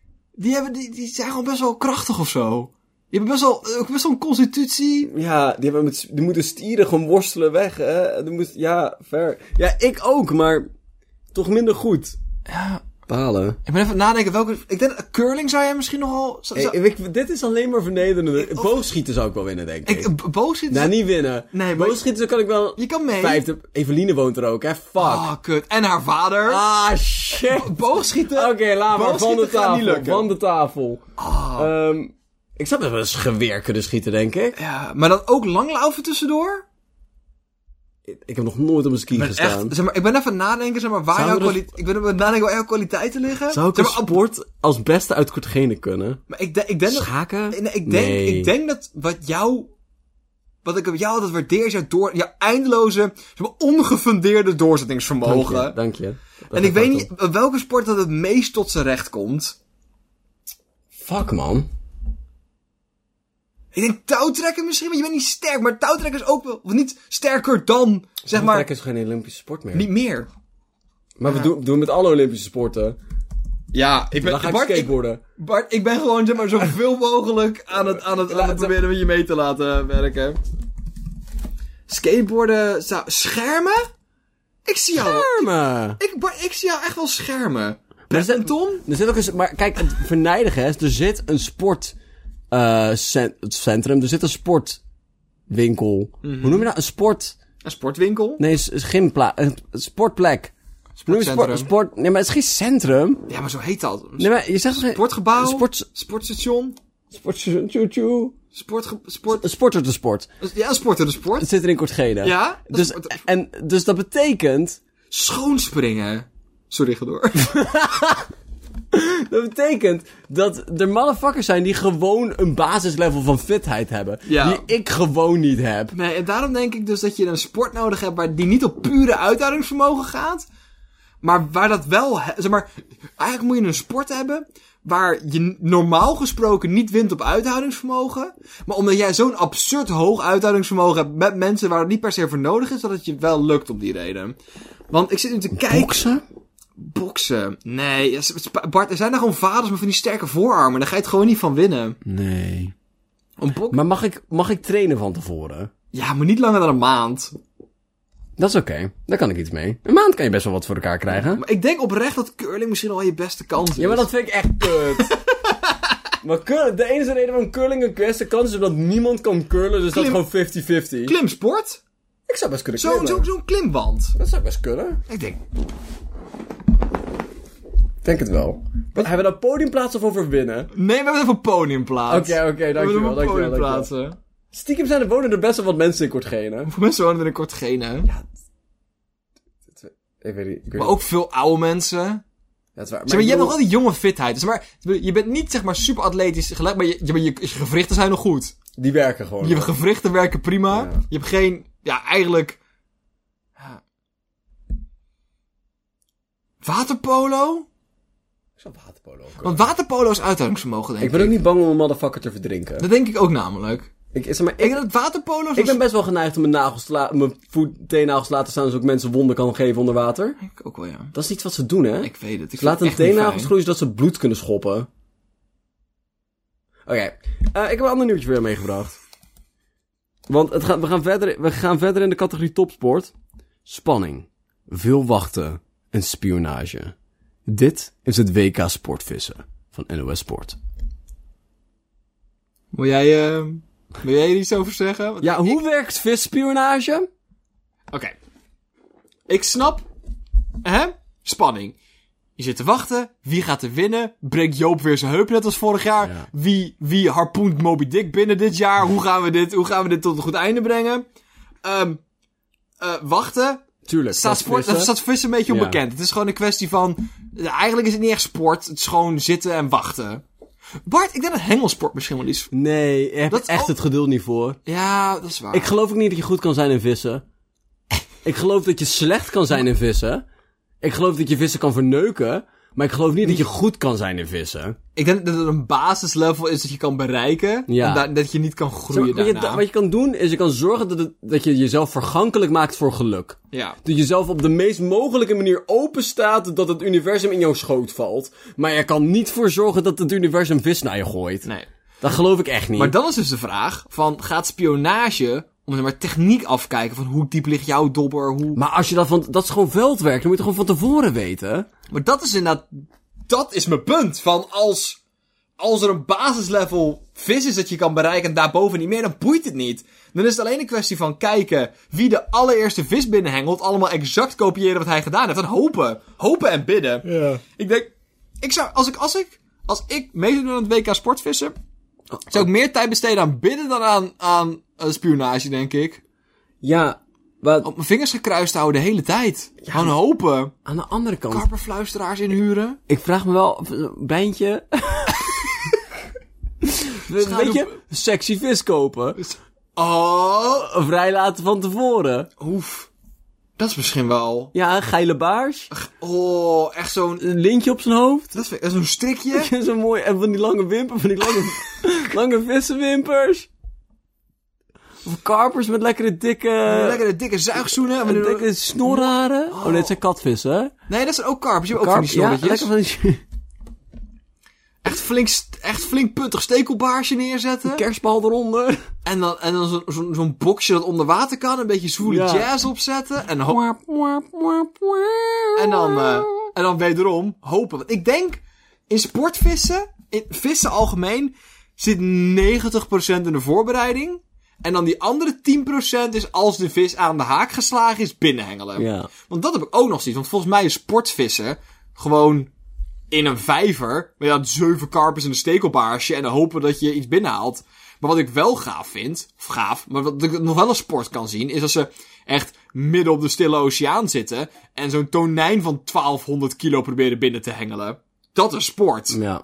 Speaker 2: Die, hebben, die, die zijn gewoon best wel krachtig of zo. Die hebben best wel, eh, ook best wel een constitutie.
Speaker 1: Ja, die, hebben met, die moeten stieren gewoon worstelen weg, hè. Die moet, ja, ver. Ja, ik ook, maar toch minder goed.
Speaker 2: Ja,
Speaker 1: Palen.
Speaker 2: ik ben even aan het nadenken welke... Ik denk, eh, curling zou jij misschien nogal... Zou, zou-
Speaker 1: ik, dit is alleen maar vernederend. Boogschieten zou ik wel winnen, denk
Speaker 2: ik, eh, boos zit...
Speaker 1: Nou, niet winnen.
Speaker 2: Nee,
Speaker 1: Nee,
Speaker 2: maar-
Speaker 1: maar... Boogschieten kan ik wel...
Speaker 2: Je kan mee.
Speaker 1: Vijfde... Eveline woont er ook, hè? Fuck.
Speaker 2: Ah, kut. En haar vader.
Speaker 1: Ah, shit.
Speaker 2: Boogschieten.
Speaker 1: Oké, laat maar. Van de
Speaker 2: Boogschieten gaat niet
Speaker 1: tafel.
Speaker 2: lukken. Ah.
Speaker 1: Van de tafel. Ehm, ik zou best wel eens geweer kunnen schieten, denk ik.
Speaker 2: Ja, maar dan ook langlaufen tussendoor?
Speaker 1: Ik heb nog nooit op een ski
Speaker 2: Echt,
Speaker 1: gestaan.
Speaker 2: zeg maar, ik ben even aan het nadenken, zeg maar, waar jouw
Speaker 1: Zouden we-
Speaker 2: kwaliteit... Ik ben even aan het nadenken waar jouw kwaliteiten liggen.
Speaker 1: Zou ik
Speaker 2: zeg
Speaker 1: een
Speaker 2: maar, op-
Speaker 1: sport als beste uit Kortgene kunnen?
Speaker 2: maar ik, denk- ik denk dat...
Speaker 1: Schaken?
Speaker 2: Nou, Nee, nee, ik, denk,
Speaker 1: Nee.
Speaker 2: ik denk dat wat jou. Wat ik op jou altijd waardeer is jouw, door, jouw eindeloze, zeg maar, ongefundeerde
Speaker 1: Dank
Speaker 2: doorzettingsvermogen.
Speaker 1: je, dank je. Dat
Speaker 2: en ik
Speaker 1: gaat
Speaker 2: weet
Speaker 1: om.
Speaker 2: niet welke sport dat het meest tot zijn recht komt.
Speaker 1: Fuck, man.
Speaker 2: Ik denk touwtrekken misschien, want je bent niet sterk. Maar touwtrekken is ook wel of niet sterker dan, zeg
Speaker 1: Trek
Speaker 2: maar,
Speaker 1: is geen Olympische sport meer.
Speaker 2: niet meer.
Speaker 1: Maar we doen, doen we met alle Olympische sporten.
Speaker 2: Ja, ik ben,
Speaker 1: Dan ga ik
Speaker 2: Bart, ik,
Speaker 1: skateboarden.
Speaker 2: Bart, ik ben gewoon zeg maar, zoveel mogelijk aan het, aan het, aan het proberen met je mee te laten werken. Skateboarden, zou- schermen? Ik zie jou.
Speaker 1: Armen.
Speaker 2: Ik, maar ik zie jou echt wel schermen.
Speaker 1: Maar er zit-
Speaker 2: En Tom?
Speaker 1: Er zit ook een, maar kijk, het verneidigen is, er zit een eh, sportcentrum, er zit een sportwinkel.
Speaker 2: Mhm.
Speaker 1: Hoe noem je dat? Een sport,
Speaker 2: Een sportwinkel?
Speaker 1: nee, een gymplaats, een sportplek. Hoe noem je sport,
Speaker 2: Sportcentrum.
Speaker 1: een sport, nee, maar het is geen centrum.
Speaker 2: Ja, maar zo heet dat.
Speaker 1: Nee, maar je zegt toch geen-
Speaker 2: Sportgebouw?
Speaker 1: Een Sport,
Speaker 2: Sportstation?
Speaker 1: sport, tjoe, tjoe.
Speaker 2: Sportge sport...
Speaker 1: Een sporter de sport.
Speaker 2: Ja, sporten de sport.
Speaker 1: Het zit er in Kortgene.
Speaker 2: Ja? Dat
Speaker 1: Dus,
Speaker 2: is sport-
Speaker 1: en, dus dat betekent,
Speaker 2: Schoonspringen. Sorry, ga door.
Speaker 1: dat betekent dat er motherfuckers zijn die gewoon een basislevel van fitheid hebben.
Speaker 2: Ja.
Speaker 1: Die ik gewoon niet heb.
Speaker 2: Nee, en daarom denk ik dus dat je een sport nodig hebt waar die niet op pure uithoudingsvermogen gaat. Maar waar dat wel... he- Zeg maar, eigenlijk moet je een sport hebben waar je normaal gesproken niet wint op uithoudingsvermogen. Maar omdat jij zo'n absurd hoog uithoudingsvermogen hebt met mensen waar het niet per se voor nodig is, dat het je wel lukt om die reden. Want ik zit nu te kijken.
Speaker 1: Boksen?
Speaker 2: Boksen? Nee, ja, s- s- Bart, er zijn daar gewoon vaders met van die sterke voorarmen. Daar ga je het gewoon niet van winnen.
Speaker 1: Nee.
Speaker 2: Een bok...
Speaker 1: Maar mag ik, mag ik trainen van tevoren?
Speaker 2: Ja, maar niet langer dan een maand.
Speaker 1: Dat is oké. Daar kan ik iets mee. Een maand kan je best wel wat voor elkaar krijgen.
Speaker 2: Maar ik denk oprecht dat curling misschien wel je beste kans is.
Speaker 1: Ja, maar dat vind ik echt kut. maar cur- de enige reden waarom curling een kwestie kan is omdat niemand kan curlen, dus
Speaker 2: Klim-
Speaker 1: dat is gewoon 50-50.
Speaker 2: Klimsport?
Speaker 1: Ik zou best kunnen
Speaker 2: Zo'n
Speaker 1: curlen.
Speaker 2: zo, zo'n klimwand.
Speaker 1: Dat zou ik best kunnen.
Speaker 2: Ik denk,
Speaker 1: Ik denk het wel. Wat, hebben we dan podiumplaats of overwinnen?
Speaker 2: nee, we hebben het even podiumplaats.
Speaker 1: Oké, oké,
Speaker 2: We hebben
Speaker 1: dankjewel,
Speaker 2: het over
Speaker 1: dankjewel,
Speaker 2: podiumplaatsen.
Speaker 1: Stiekem zijn er wonen er best wel wat mensen in Kortgene.
Speaker 2: Voor mensen wonen er kort geen, hè?
Speaker 1: Ik weet niet. Ik weet
Speaker 2: Maar
Speaker 1: niet.
Speaker 2: ook veel oude mensen.
Speaker 1: Dat is waar.
Speaker 2: Zeg maar, je
Speaker 1: ik
Speaker 2: hebt nog
Speaker 1: bedoel-
Speaker 2: wel die jonge fitheid. Dus maar, je bent niet zeg maar super atletisch gelijk, maar je, je, maar je, je gewrichten zijn nog goed.
Speaker 1: Die werken gewoon.
Speaker 2: Je gewrichten werken prima.
Speaker 1: Oh, Ja.
Speaker 2: Je hebt geen, ja, eigenlijk. Ja. Waterpolo?
Speaker 1: Ik zou waterpolo ook kunnen.
Speaker 2: Want waterpolo is uithoudingsvermogen, denk
Speaker 1: Ik
Speaker 2: ik.
Speaker 1: ben ook niet bang om een motherfucker te verdrinken.
Speaker 2: Dat denk ik ook namelijk.
Speaker 1: Ik, zeg maar,
Speaker 2: Ik
Speaker 1: ik,
Speaker 2: denk dat waterpolo
Speaker 1: ik ben best wel geneigd om mijn, nagels te la- mijn voet, teennagels te laten staan, zodat ik mensen wonden kan geven onder water.
Speaker 2: Ik ook wel, ja.
Speaker 1: Dat is iets wat ze doen, hè?
Speaker 2: Ik weet het. Ik
Speaker 1: Ze laten hun
Speaker 2: vind het echt niet
Speaker 1: teennagels
Speaker 2: fijn.
Speaker 1: groeien zodat ze bloed kunnen schoppen. Oké. Eh, ik heb een ander nieuwtje voor jou meegebracht. Want het gaat, we, gaan verder, we gaan verder in de categorie topsport. Spanning. Veel wachten. En spionage. Dit is het WK Sportvissen van NOS Sport.
Speaker 2: Wil jij, eh, wil jij er iets over zeggen? Want
Speaker 1: Ja, hoe werkt visspionage?
Speaker 2: Oké. Ik snap. Hè? Spanning. Je zit te wachten. Wie gaat er winnen? Breekt Joop weer zijn heup net als vorig jaar?
Speaker 1: Ja.
Speaker 2: Wie, wie harpoent Moby Dick binnen dit jaar? Hoe gaan we dit, hoe gaan we dit tot een goed einde brengen? Ehm eh, wachten.
Speaker 1: Tuurlijk.
Speaker 2: Staat,
Speaker 1: dat
Speaker 2: sport,
Speaker 1: vissen.
Speaker 2: dat staat vissen een beetje
Speaker 1: Ja.
Speaker 2: onbekend. Het is gewoon een kwestie van... ja, Eigenlijk is het niet echt sport. Het is gewoon zitten en wachten. Bart, ik denk dat hengelsport misschien wel is.
Speaker 1: Nee, ik heb
Speaker 2: Dat is
Speaker 1: echt
Speaker 2: ook-
Speaker 1: het geduld niet voor.
Speaker 2: Ja, dat is waar.
Speaker 1: Ik geloof ook niet dat je goed kan zijn in vissen. Ik geloof dat je slecht kan zijn in vissen. Ik geloof dat je vissen kan verneuken. Maar ik geloof niet dat je goed kan zijn in vissen.
Speaker 2: Ik denk dat het een basislevel is dat je kan bereiken.
Speaker 1: Ja.
Speaker 2: en da- dat je niet kan
Speaker 1: Zeg
Speaker 2: groeien
Speaker 1: maar, wat, je,
Speaker 2: daarna.
Speaker 1: wat je kan doen, is je kan zorgen dat, het- dat je jezelf vergankelijk maakt voor geluk.
Speaker 2: Ja.
Speaker 1: Dat je zelf op de meest mogelijke manier open staat dat het universum in jouw schoot valt. Maar je kan niet voor zorgen dat het universum vis naar je gooit.
Speaker 2: Nee.
Speaker 1: Dat geloof ik echt niet.
Speaker 2: Maar dan is dus de vraag van, gaat spionage, om zeg maar techniek afkijken van hoe diep ligt jouw dobber, hoe...
Speaker 1: Maar als je dat van, dat is gewoon veldwerk, dan moet je het gewoon van tevoren weten.
Speaker 2: Maar dat is inderdaad, dat is mijn punt. Van als, als er een basislevel vis is dat je kan bereiken en daarboven niet meer, dan boeit het niet. Dan is het alleen een kwestie van kijken wie de allereerste vis binnenhengelt, allemaal exact kopiëren wat hij gedaan heeft en hopen. Hopen en bidden. Ik denk, ik zou, als ik, als ik, als ik meedoen aan het WK sportvissen, zou ik meer tijd besteden aan bidden dan aan, aan eh, spionage, denk ik.
Speaker 1: Ja, maar
Speaker 2: Op mijn vingers gekruist houden de hele tijd. Gewoon hopen.
Speaker 1: aan de andere kant...
Speaker 2: Karperfluisteraars inhuren.
Speaker 1: Ik vraag me wel, of, eh, Bijntje. Weet je, sexy vis kopen.
Speaker 2: Oh,
Speaker 1: Vrijlaten van tevoren.
Speaker 2: oef. Dat is misschien wel.
Speaker 1: Ja, een geile baars.
Speaker 2: Oh, echt zo'n.
Speaker 1: Een lintje op zijn hoofd.
Speaker 2: Dat is, dat is zo'n strikje.
Speaker 1: Zo'n mooi, en van die lange wimper, van die lange, lange vissenwimpers. Of karpers met lekkere dikke,
Speaker 2: Lekker de dikke zuigzoenen.
Speaker 1: met dikke snorharen. Oh nee, het zijn katvissen, hè?
Speaker 2: Nee, dat zijn ook karpers. Je hebt ook van die
Speaker 1: ja,
Speaker 2: snorretjes.
Speaker 1: lekker van die
Speaker 2: echt, flink, st- echt flink puntig stekelbaarsje neerzetten.
Speaker 1: kerstbal eronder.
Speaker 2: En dan, en dan zo'n zo'n zo'n boxje dat onder water kan. Een beetje zwoele
Speaker 1: Ja.
Speaker 2: jazz opzetten. En, ho- en, dan, eh, en dan wederom hopen. Want ik denk, in sportvissen, in vissen algemeen, zit 90% in de voorbereiding. En dan die andere 10% is als de vis aan de haak geslagen is, binnenhengelen.
Speaker 1: Ja.
Speaker 2: Want dat heb ik ook nog zoiets. Want volgens mij is sportvissen gewoon in een vijver. Met ja, zeven karpers en een stekelbaarsje. En dan hopen dat je iets binnenhaalt. Maar wat ik wel gaaf vind, of gaaf, maar wat ik nog wel een sport kan zien, is als ze echt midden op de stille oceaan zitten. En zo'n tonijn van 1200 kilo proberen binnen te hengelen. Dat is sport.
Speaker 1: Ja.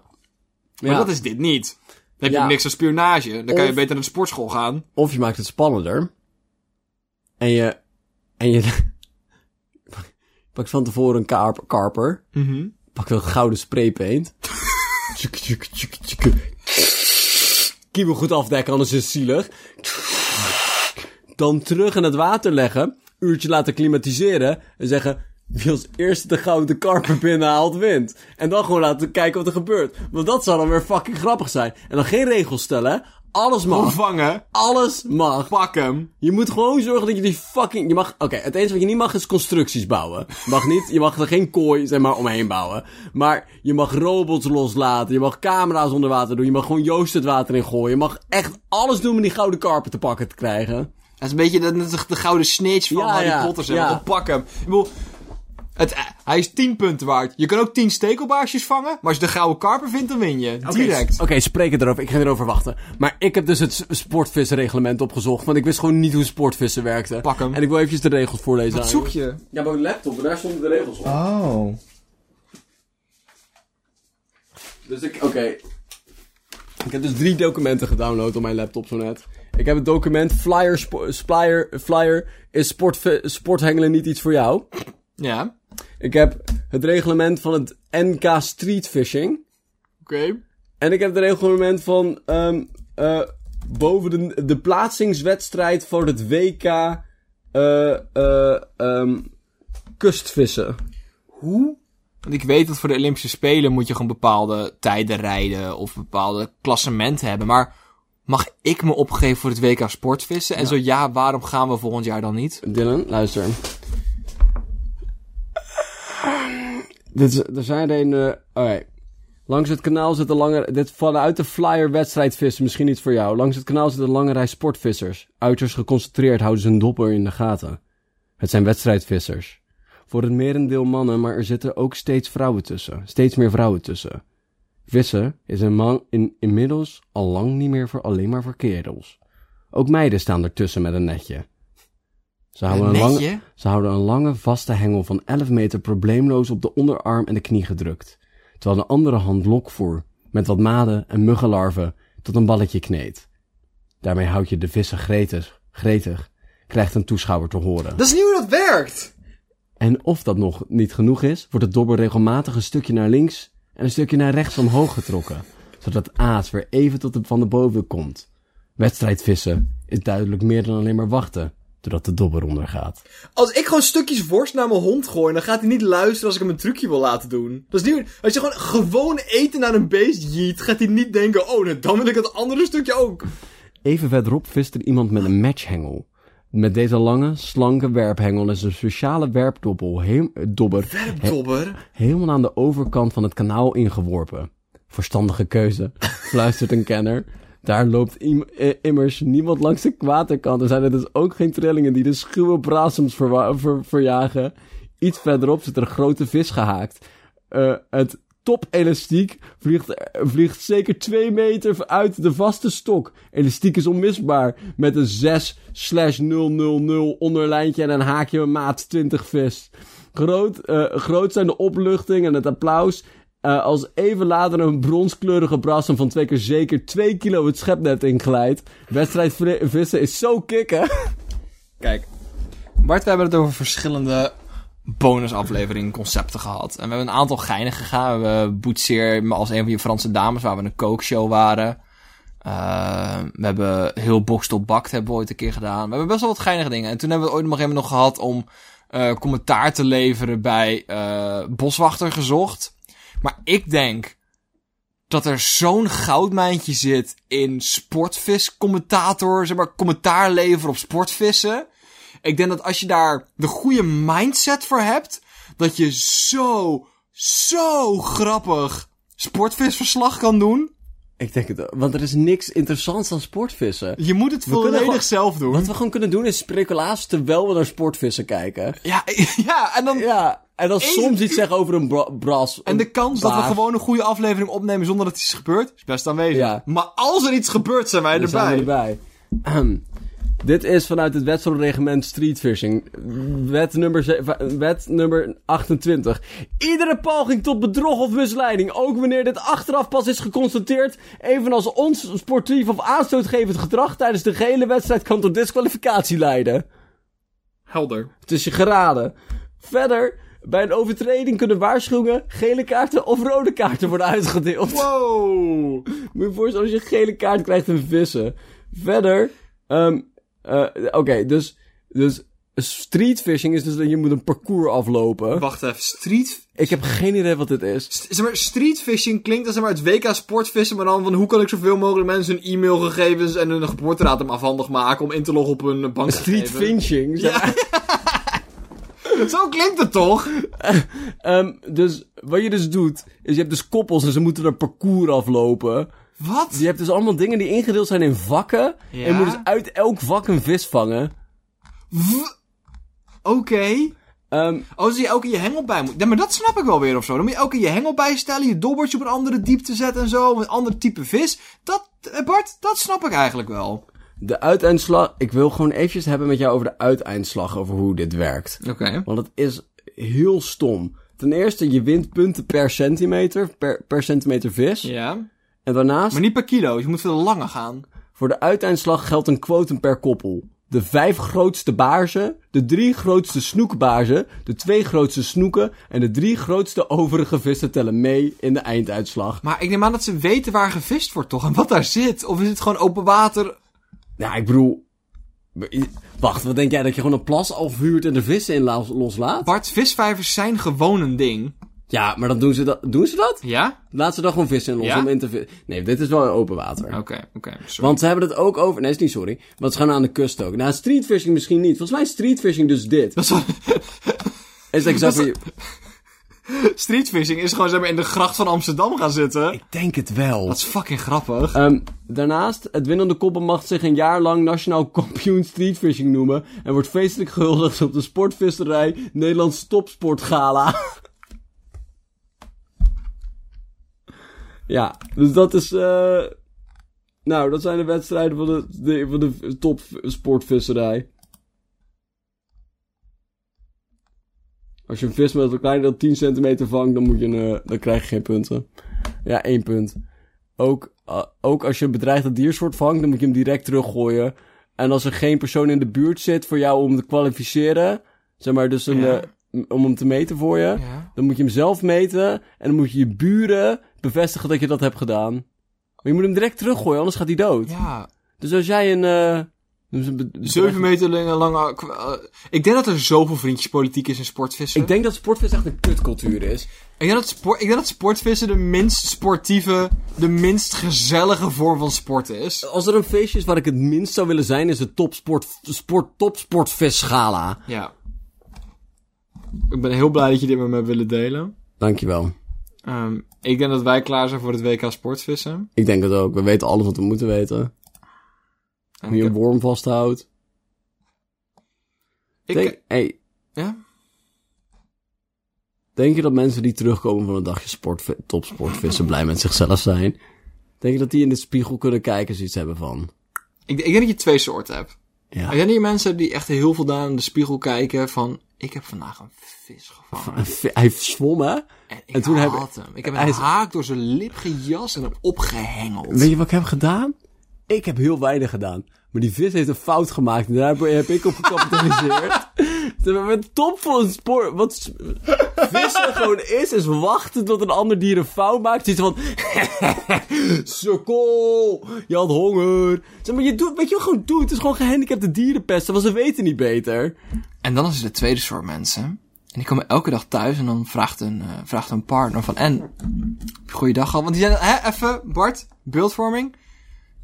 Speaker 2: Maar
Speaker 1: Ja.
Speaker 2: dat is dit niet. Dan heb je
Speaker 1: Ja.
Speaker 2: niks aan spionage. Dan kan je
Speaker 1: Of-
Speaker 2: beter naar de sportschool gaan.
Speaker 1: Of je maakt het spannender. En je. En je. Pak van tevoren een karp- karper. Pak wel gouden spraypaint. tjuk, tjuk, tjuk, tjuk. Kiebel goed afdekken, anders is het zielig. Dan terug in het water leggen, uurtje laten klimatiseren en zeggen... Wie als eerste de gouden karper binnenhaalt, wint. En dan gewoon laten kijken wat er gebeurt. Want dat zou dan weer fucking grappig zijn. En dan geen regels stellen, hè. Alles mag.
Speaker 2: Vangen,
Speaker 1: Alles mag.
Speaker 2: pak hem.
Speaker 1: Je moet gewoon zorgen dat je die fucking... Je mag... Oké, het enige wat je niet mag is constructies bouwen. Mag niet. Je mag er geen kooi, zeg maar, omheen bouwen. Maar je mag robots loslaten. Je mag camera's onder water doen. Je mag gewoon Joost het water in gooien. Je mag echt alles doen om die gouden karper te pakken te krijgen.
Speaker 2: Dat is een beetje de, de, de gouden snitch van
Speaker 1: Ja,
Speaker 2: Harry
Speaker 1: ja,
Speaker 2: Potter. Zeg.
Speaker 1: ja.
Speaker 2: maar. Pak hem. Ik bedoel, het, eh, hij is 10 punten waard. Je kan ook 10 stekelbaarsjes vangen. Maar als je de gouden karper vindt, dan win je. Direct.
Speaker 1: Oké, spreek het erover. Ik ga erover wachten. Maar ik heb dus het s- sportvissenreglement opgezocht. Want ik wist gewoon niet hoe sportvissen werkten.
Speaker 2: Pak hem.
Speaker 1: En ik wil eventjes de regels voorlezen aan
Speaker 2: Zoek je.
Speaker 1: Ja, mijn laptop. Daar stonden de regels op.
Speaker 2: Oh.
Speaker 1: Dus ik, oké. Ik heb dus drie documenten gedownload op mijn laptop zo net. Ik heb het document Flyer, spo- flyer, flyer is sport, sporthengelen niet iets voor jou.
Speaker 2: Ja. Oké.
Speaker 1: Ik heb het reglement van het NK Street Fishing. En ik heb het reglement van ehm, eh, boven de, de plaatsingswedstrijd voor het WK eh, eh, ehm, kustvissen.
Speaker 2: Hoe? Want ik weet dat voor de Olympische Spelen moet je gewoon bepaalde tijden rijden of bepaalde klassementen hebben. Maar mag ik me opgeven voor het WK Sportvissen? En zo ja, waarom gaan we volgend jaar dan niet?
Speaker 1: Dylan, luister. Dit is, er zijn er een... eh, alright. Langs het kanaal zitten lange... Dit vanuit de flyer wedstrijdvissen, misschien iets voor jou. Langs het kanaal zitten een lange rij sportvissers. Uiterst geconcentreerd houden ze hun dopper in de gaten. Het zijn wedstrijdvissers. Voor het merendeel mannen, maar er zitten ook steeds vrouwen tussen. Steeds meer vrouwen tussen. Vissen is een man in, inmiddels al lang niet meer voor, alleen maar voor kerels. Ook meiden staan ertussen met een netje. Ze houden
Speaker 2: Een
Speaker 1: een,
Speaker 2: netje?
Speaker 1: lange, ze houden een lange, vaste hengel van 11 meter probleemloos op de onderarm en de knie gedrukt. Terwijl de andere hand lokvoer, met wat maden en muggenlarven, tot een balletje kneedt. Daarmee houd je de vissen gretig, gretig, krijgt een toeschouwer te horen.
Speaker 2: Dat is niet hoe dat werkt!
Speaker 1: En of dat nog niet genoeg is, wordt het dobber regelmatig een stukje naar links en een stukje naar rechts omhoog getrokken, zodat het aas weer even tot de van de boven komt. Wedstrijdvissen is duidelijk meer dan alleen maar wachten, doordat de dobber ondergaat.
Speaker 2: Als ik gewoon stukjes worst naar mijn hond gooi, dan gaat hij niet luisteren als ik hem een trucje wil laten doen. Dat is niet hoe- Als je gewoon gewoon eten naar een beest jeet, gaat hij niet denken, oh, nou, dan wil ik dat andere stukje ook.
Speaker 1: Even verderop vist er iemand met een matchhengel. Met deze lange, slanke werphengel is een speciale werpdobbel, heem- eh, dobber, he-
Speaker 2: Dobber.
Speaker 1: helemaal aan de overkant van het kanaal ingeworpen. Verstandige keuze, fluistert een kenner. Daar loopt im- eh, immers niemand langs de waterkant. Er zijn er dus ook geen trillingen die de schuwe brasems verwa- ver- verjagen. Iets verderop zit er een grote vis gehaakt. Eh, het topelastiek vliegt, eh, vliegt zeker twee meter uit de vaste stok. Elastiek is onmisbaar. Met een 6 slash 000 onderlijntje en een haakje een maat 20 vis. Groot, eh, groot zijn de opluchting en het applaus. eh, als even later een bronskleurige brassem van twee keer zeker 2 kilo het schepnet inglijdt. Wedstrijd vri- vissen is zo kicken.
Speaker 2: Kijk, Bart, we hebben het over verschillende bonusaflevering concepten gehad. En we hebben een aantal geinen gegaan. We hebben Boetseer als een van je Franse dames, waar we een kookshow waren. Eh, we hebben heel Bokstel Bakt hebben we ooit een keer gedaan. We hebben best wel wat geinige dingen. En toen hebben we het ooit nog even nog gehad om eh, commentaar te leveren bij eh, Boswachter Gezocht. Maar ik denk dat er zo'n goudmijntje zit in sportvis commentator, zeg maar commentaar leveren op sportvissen. Ik denk dat als je daar de goede mindset voor hebt, dat je zo, zo grappig sportvisverslag kan doen.
Speaker 1: Ik denk het ook, want er is niks interessants aan sportvissen.
Speaker 2: Je moet het
Speaker 1: kunnen
Speaker 2: volledig
Speaker 1: gewoon-
Speaker 2: zelf doen.
Speaker 1: Wat we gewoon kunnen doen is speculaas terwijl we naar sportvissen kijken.
Speaker 2: Ja, ja, en dan.
Speaker 1: Ja, en dan
Speaker 2: Eén
Speaker 1: soms iets
Speaker 2: uur-
Speaker 1: zeggen over een bra- bras.
Speaker 2: En de kans dat we
Speaker 1: Baas.
Speaker 2: gewoon een goede aflevering opnemen zonder dat iets gebeurt, is best aanwezig.
Speaker 1: Ja.
Speaker 2: Maar als er iets gebeurt, zijn wij
Speaker 1: Dan zijn we
Speaker 2: erbij.
Speaker 1: erbij. Ahem. Dit is vanuit het wetsreglement streetfishing. Wet nummer, zeven- wet nummer 28. Iedere poging tot bedrog of misleiding, ook wanneer dit achteraf pas is geconstateerd, evenals ons sportief of aanstootgevend gedrag tijdens de gehele wedstrijd kan tot disqualificatie leiden.
Speaker 2: Helder.
Speaker 1: Het is je geraden. Verder Bij een overtreding kunnen waarschuwingen, gele kaarten of rode kaarten worden uitgedeeld.
Speaker 2: Wow.
Speaker 1: Moet je je voorstellen als je een gele kaart krijgt in vissen. Verder, ehm, eh, oké, dus, dus streetfishing is dus dat je moet een parcours aflopen.
Speaker 2: Wacht even, street...
Speaker 1: Ik heb geen idee wat dit is.
Speaker 2: st- Zeg maar, streetfishing klinkt als zeg maar, het WK sportvissen, maar dan van hoe kan ik zoveel mogelijk mensen hun e-mailgegevens en hun geboortedatum afhandig maken om in te loggen op hun bank.
Speaker 1: Streetfishing. zeg maar.
Speaker 2: Zo klinkt het toch?
Speaker 1: Ehm, dus wat je dus doet, is je hebt dus koppels en ze moeten een parcours aflopen.
Speaker 2: Wat?
Speaker 1: Je hebt dus allemaal dingen die ingedeeld zijn in vakken.
Speaker 2: Ja.
Speaker 1: En je moet dus uit elk vak een vis vangen.
Speaker 2: W- Oké.
Speaker 1: Ehm,
Speaker 2: Oh, dus je elke je hengel bij moet. Ja, maar dat snap ik wel weer of zo. Dan moet je elke je hengel bijstellen, je dobbertje op een andere diepte zetten en zo, een ander type vis. Dat, eh, Bart, dat snap ik eigenlijk wel.
Speaker 1: de uiteinslag... Ik wil gewoon eventjes hebben met jou over de uiteinslag, over hoe dit werkt.
Speaker 2: Oké.
Speaker 1: Want het is heel stom. Ten eerste, je wint punten per centimeter, per, per centimeter vis.
Speaker 2: Ja.
Speaker 1: En daarnaast,
Speaker 2: Maar niet per kilo, je moet veel langer gaan.
Speaker 1: voor de uiteinslag geldt een quotum per koppel. De vijf grootste baarzen, de drie grootste snoekbaarzen, de twee grootste snoeken en de drie grootste overige vissen tellen mee in de einduitslag.
Speaker 2: Maar ik neem aan dat ze weten waar gevist wordt toch en wat daar zit. Of is het gewoon open water?
Speaker 1: Nou, ik bedoel... Wacht, wat denk jij? Dat je gewoon een plas afhuurt en er vissen in la- loslaat?
Speaker 2: Bart, visvijvers zijn gewoon een ding.
Speaker 1: Ja, maar dan doen ze dat. Doen ze dat?
Speaker 2: Ja?
Speaker 1: Laat ze dan gewoon vissen in los
Speaker 2: Ja?
Speaker 1: om in te vissen. Nee, dit is wel in open water.
Speaker 2: Oké, oké. sorry.
Speaker 1: Want ze hebben het ook over... Nee, is niet sorry. Want ze gaan aan de kust ook. Nou, streetfishing misschien niet. Volgens mij is streetfishing dus dit.
Speaker 2: Dat is wel-
Speaker 1: Is exact wat je-
Speaker 2: Streetfishing is gewoon zeg maar in de gracht van Amsterdam gaan zitten.
Speaker 1: Ik denk het wel.
Speaker 2: Dat is fucking grappig.
Speaker 1: Ehm, daarnaast, het winnende koppel mag zich een jaar lang nationaal kampioen streetfishing noemen. En wordt feestelijk gehuldigd op de sportvisserij Nederlands Topsportgala. ja, dus dat is... eh, nou, dat zijn de wedstrijden van de, de, van de topsportvisserij. Als je een vis met een kleiner dan 10 centimeter vangt, dan, moet je een, eh, dan krijg je geen punten. Ja, één punt. Ook, eh, ook als je een bedreigde diersoort vangt, dan moet je hem direct teruggooien. En als er geen persoon in de buurt zit voor jou om te kwalificeren, zeg maar, dus een,
Speaker 2: Ja.
Speaker 1: eh, m- om hem te meten voor je,
Speaker 2: Ja.
Speaker 1: dan moet je hem zelf meten en dan moet je je buren bevestigen dat je dat hebt gedaan. Maar je moet hem direct teruggooien, anders gaat hij dood.
Speaker 2: Ja,
Speaker 1: Dus als jij een... eh, dus een be-
Speaker 2: Zeven meter lang- lange... k- eh, Ik denk dat er zoveel vriendjespolitiek is in sportvissen.
Speaker 1: Ik denk dat sportvis echt een kutcultuur is.
Speaker 2: Ik denk dat, spor- ik denk dat sportvissen de minst sportieve, de minst gezellige vorm van sport is.
Speaker 1: Als er een feestje is waar ik het minst zou willen zijn, is het topsport, sport, topsportvisgala.
Speaker 2: Ja. Ik ben heel blij dat je dit met me hebt willen delen.
Speaker 1: Dankjewel.
Speaker 2: Ehm, ik denk dat wij klaar zijn voor het WK sportvissen.
Speaker 1: Ik denk het ook. We weten alles wat we moeten weten.
Speaker 2: En
Speaker 1: Hoe je
Speaker 2: ik,
Speaker 1: een worm vasthoudt.
Speaker 2: ik-
Speaker 1: Denk, hey,
Speaker 2: ja?
Speaker 1: denk je dat mensen die terugkomen van een dagje sport, topsportvissen blij met zichzelf zijn? Denk je dat die in de spiegel kunnen kijken en zoiets hebben van...
Speaker 2: Ik, ik denk dat je twee soorten hebt.
Speaker 1: Ja.
Speaker 2: Ik denk dat je mensen hebt die echt heel voldaan in de spiegel kijken van... Ik heb vandaag een vis gevangen.
Speaker 1: Een vi- Hij zwom, hè?
Speaker 2: En ik
Speaker 1: En toen heb-
Speaker 2: had hem. Ik heb
Speaker 1: hij
Speaker 2: een
Speaker 1: is-
Speaker 2: haak door zijn lip gejast en hem opgehengeld.
Speaker 1: Weet je wat ik heb gedaan? Ik heb heel weinig gedaan. Maar die vis heeft een fout gemaakt. En daar heb ik op gecapitaliseerd. Zeg maar, Het top van het sport. Wat s- vissen gewoon is, is wachten tot een ander dier een fout maakt. Zoiets van... Sukkel! Je had honger. Zeg maar, je doet, weet je wat je gewoon doet? Het is gewoon gehandicapte dierenpesten. Want ze weten niet beter.
Speaker 2: En dan is er de tweede soort mensen. En die komen elke dag thuis en dan vraagt een, eh, vraagt een partner van... En, heb je goede dag al? Want die zijn, hè, even, Bart, beeldvorming.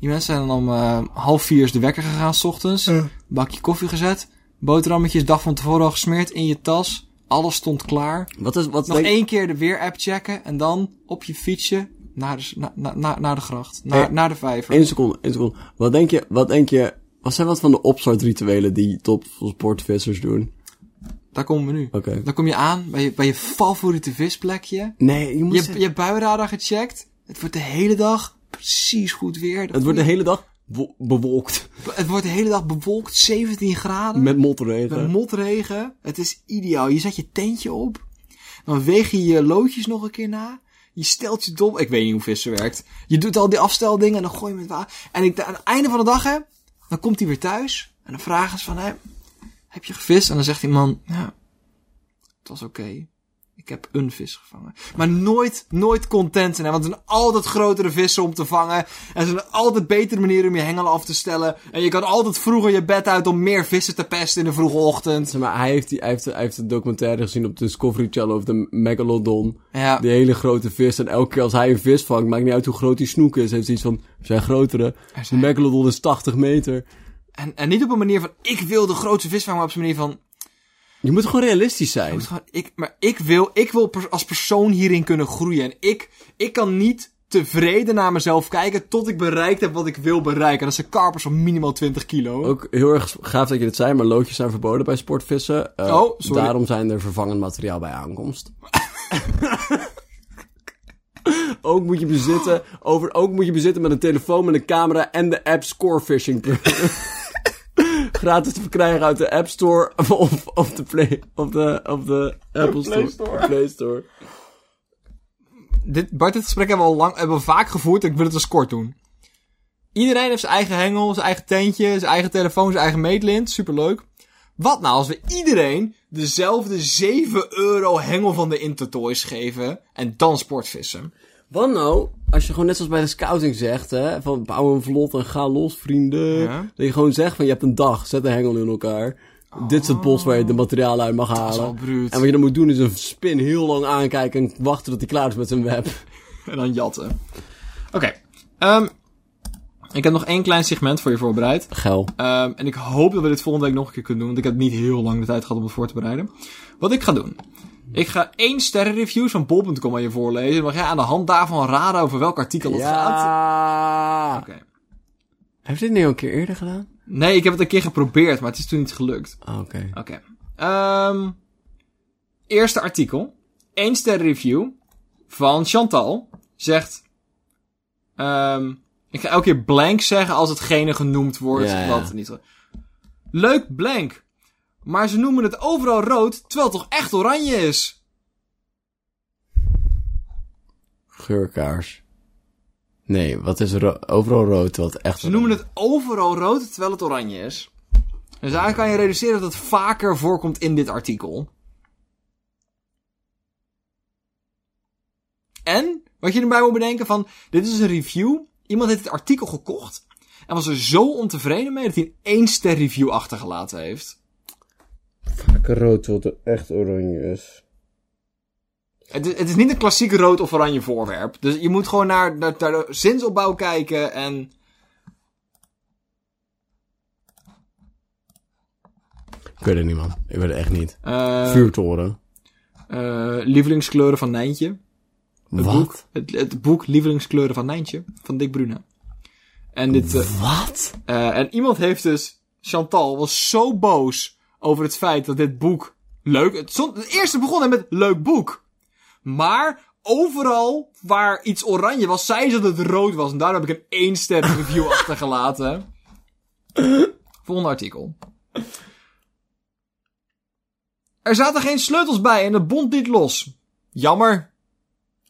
Speaker 2: Die mensen zijn dan om eh, half vier is de wekker gegaan, s ochtends. Bakje koffie gezet. Boterhammetjes dag van tevoren al gesmeerd in je tas. Alles stond klaar.
Speaker 1: Wat is... Wat
Speaker 2: Nog
Speaker 1: denk-
Speaker 2: één keer de weer-app checken. En dan op je fietsje naar de, s- na, na, na- naar de gracht. Naar,
Speaker 1: Hey.
Speaker 2: naar de vijver.
Speaker 1: Eén seconde, één seconde. Wat denk je... Wat denk je... Wat zijn wat van de opstartrituelen die top sportvissers doen?
Speaker 2: Daar komen we nu.
Speaker 1: Oké.
Speaker 2: Dan kom je aan bij je, bij je favoriete visplekje.
Speaker 1: Nee, je moet...
Speaker 2: Je, je buienradar gecheckt. Het wordt de hele dag precies goed weer.
Speaker 1: Het wordt de hele dag wo- bewolkt.
Speaker 2: het wordt de hele dag bewolkt, 17 graden.
Speaker 1: Met motregen.
Speaker 2: Met motregen. Het is ideaal. Je zet je tentje op. Dan weeg je je loodjes nog een keer na. Je stelt je dom. Ik weet niet hoe vissen werkt. Je doet al die afsteldingen en dan gooi je met water. En ik, aan het einde van de dag, hè, dan komt hij weer thuis. En dan vragen ze van, hè, heb je gevist? En dan zegt die man, ja, het was oké. Ik heb een vis gevangen. Maar nooit, nooit content zijn. hè, Want er zijn altijd grotere vissen om te vangen. En er zijn altijd betere manieren om je hengel af te stellen. En je kan altijd vroeger je bed uit om meer vissen te pesten in de vroege ochtend.
Speaker 1: Zeg maar, hij heeft, die, hij, heeft, hij heeft een documentaire gezien op Discovery Channel over de Megalodon.
Speaker 2: Ja.
Speaker 1: Die hele grote vis. En elke keer als hij een vis vangt, maakt niet uit hoe groot die snoek is. Hij heeft iets van, er zijn grotere. De
Speaker 2: zijn-
Speaker 1: Megalodon is 80 meter.
Speaker 2: En, en niet op een manier van, ik wil de grootste vis vangen. Maar op zijn manier van,
Speaker 1: Je moet gewoon realistisch
Speaker 2: Ik
Speaker 1: zijn.
Speaker 2: moet gewoon- ik, maar ik wil, ik wil pers- als persoon hierin kunnen groeien. En ik, ik kan niet tevreden naar mezelf kijken tot ik bereikt heb wat ik wil bereiken. En dat zijn karpers van minimaal 20 kilo.
Speaker 1: Ook heel erg gaaf dat je dit zei, maar loodjes zijn verboden bij sportvissen. Eh,
Speaker 2: Oh, sorry.
Speaker 1: Daarom zijn er vervangend materiaal bij aankomst. ook, moet je bezitten, over, ook moet je bezitten met een telefoon, met een camera en de app Scorefishing. Gratis te verkrijgen uit de App Store of, of, of de, Play, of de, of de Apple Store. De Play Store.
Speaker 2: Dit, Bart, dit gesprek hebben we al lang, hebben we vaak gevoerd. En ik wil het dus kort doen. Iedereen heeft zijn eigen hengel, zijn eigen tentje, zijn eigen telefoon, zijn eigen meetlint. Superleuk. Wat nou als we iedereen dezelfde 7 euro hengel van de Intertoys geven en dan sportvissen?
Speaker 1: Wat nou, als je gewoon net zoals bij de scouting zegt, hè, van bouw een vlot en ga los, vrienden.
Speaker 2: Ja.
Speaker 1: Dat je gewoon zegt van, je hebt een dag, zet de hengel in elkaar. Dit is het bos waar je de materialen uit mag halen.
Speaker 2: wel bruut.
Speaker 1: En wat je dan moet doen is een spin heel lang aankijken en wachten tot hij klaar is met zijn web.
Speaker 2: En dan jatten. Oké. ehm, ik heb nog één klein segment voor je voorbereid.
Speaker 1: Geil.
Speaker 2: Ehm, en ik hoop dat we dit volgende week nog een keer kunnen doen. Want ik heb niet heel lang de tijd gehad om het voor te bereiden. Wat ik ga doen. Ik ga één sterrenreviews van bol.com aan je voorlezen. Dan mag jij aan de hand daarvan raden over welk artikel het gaat.
Speaker 1: Ja.
Speaker 2: Oké.
Speaker 1: Heb je dit niet al een keer eerder gedaan?
Speaker 2: Nee, ik heb het een keer geprobeerd, maar het is toen niet gelukt.
Speaker 1: Ah, Oké.
Speaker 2: Oké. Ehm, eerste artikel. Eén ster review van Chantal. Zegt... ehm, ik ga elke keer blank zeggen als hetgene genoemd wordt.
Speaker 1: Ja, ja.
Speaker 2: Wat niet... ge- Leuk blank. Maar ze noemen het overal rood, terwijl het toch echt oranje is.
Speaker 1: Geurkaars. Nee, wat is ro- overal rood, wat echt...
Speaker 2: Ze noemen het overal rood, terwijl het oranje is. Dus eigenlijk kan je reduceren dat het vaker voorkomt in dit artikel. En, wat je erbij moet bedenken van, dit is een review. Iemand heeft het artikel gekocht. En was er zo ontevreden mee dat hij een één ster review achtergelaten heeft.
Speaker 1: Vaker rood, wat echt oranje is.
Speaker 2: Het is, het is niet een klassiek rood of oranje voorwerp. Dus je moet gewoon naar, naar, naar de zinsopbouw kijken en...
Speaker 1: Ik weet het niet, man. Ik weet het echt niet.
Speaker 2: eh,
Speaker 1: Vuurtoren.
Speaker 2: eh, lievelingskleuren van Nijntje. Het
Speaker 1: Wat?
Speaker 2: Boek, het, het boek Lievelingskleuren van Nijntje, van Dick Brune. En, dit, eh,
Speaker 1: Wat?
Speaker 2: eh, en iemand heeft dus, Chantal was zo boos over het feit dat dit boek leuk, het, stond, het eerste begon met leuk boek. Maar overal waar iets oranje was, zei ze dat het rood was. En daarom heb ik een 1 ster review achtergelaten. Volgende artikel. Er zaten geen sleutels bij en het bond niet los. Jammer.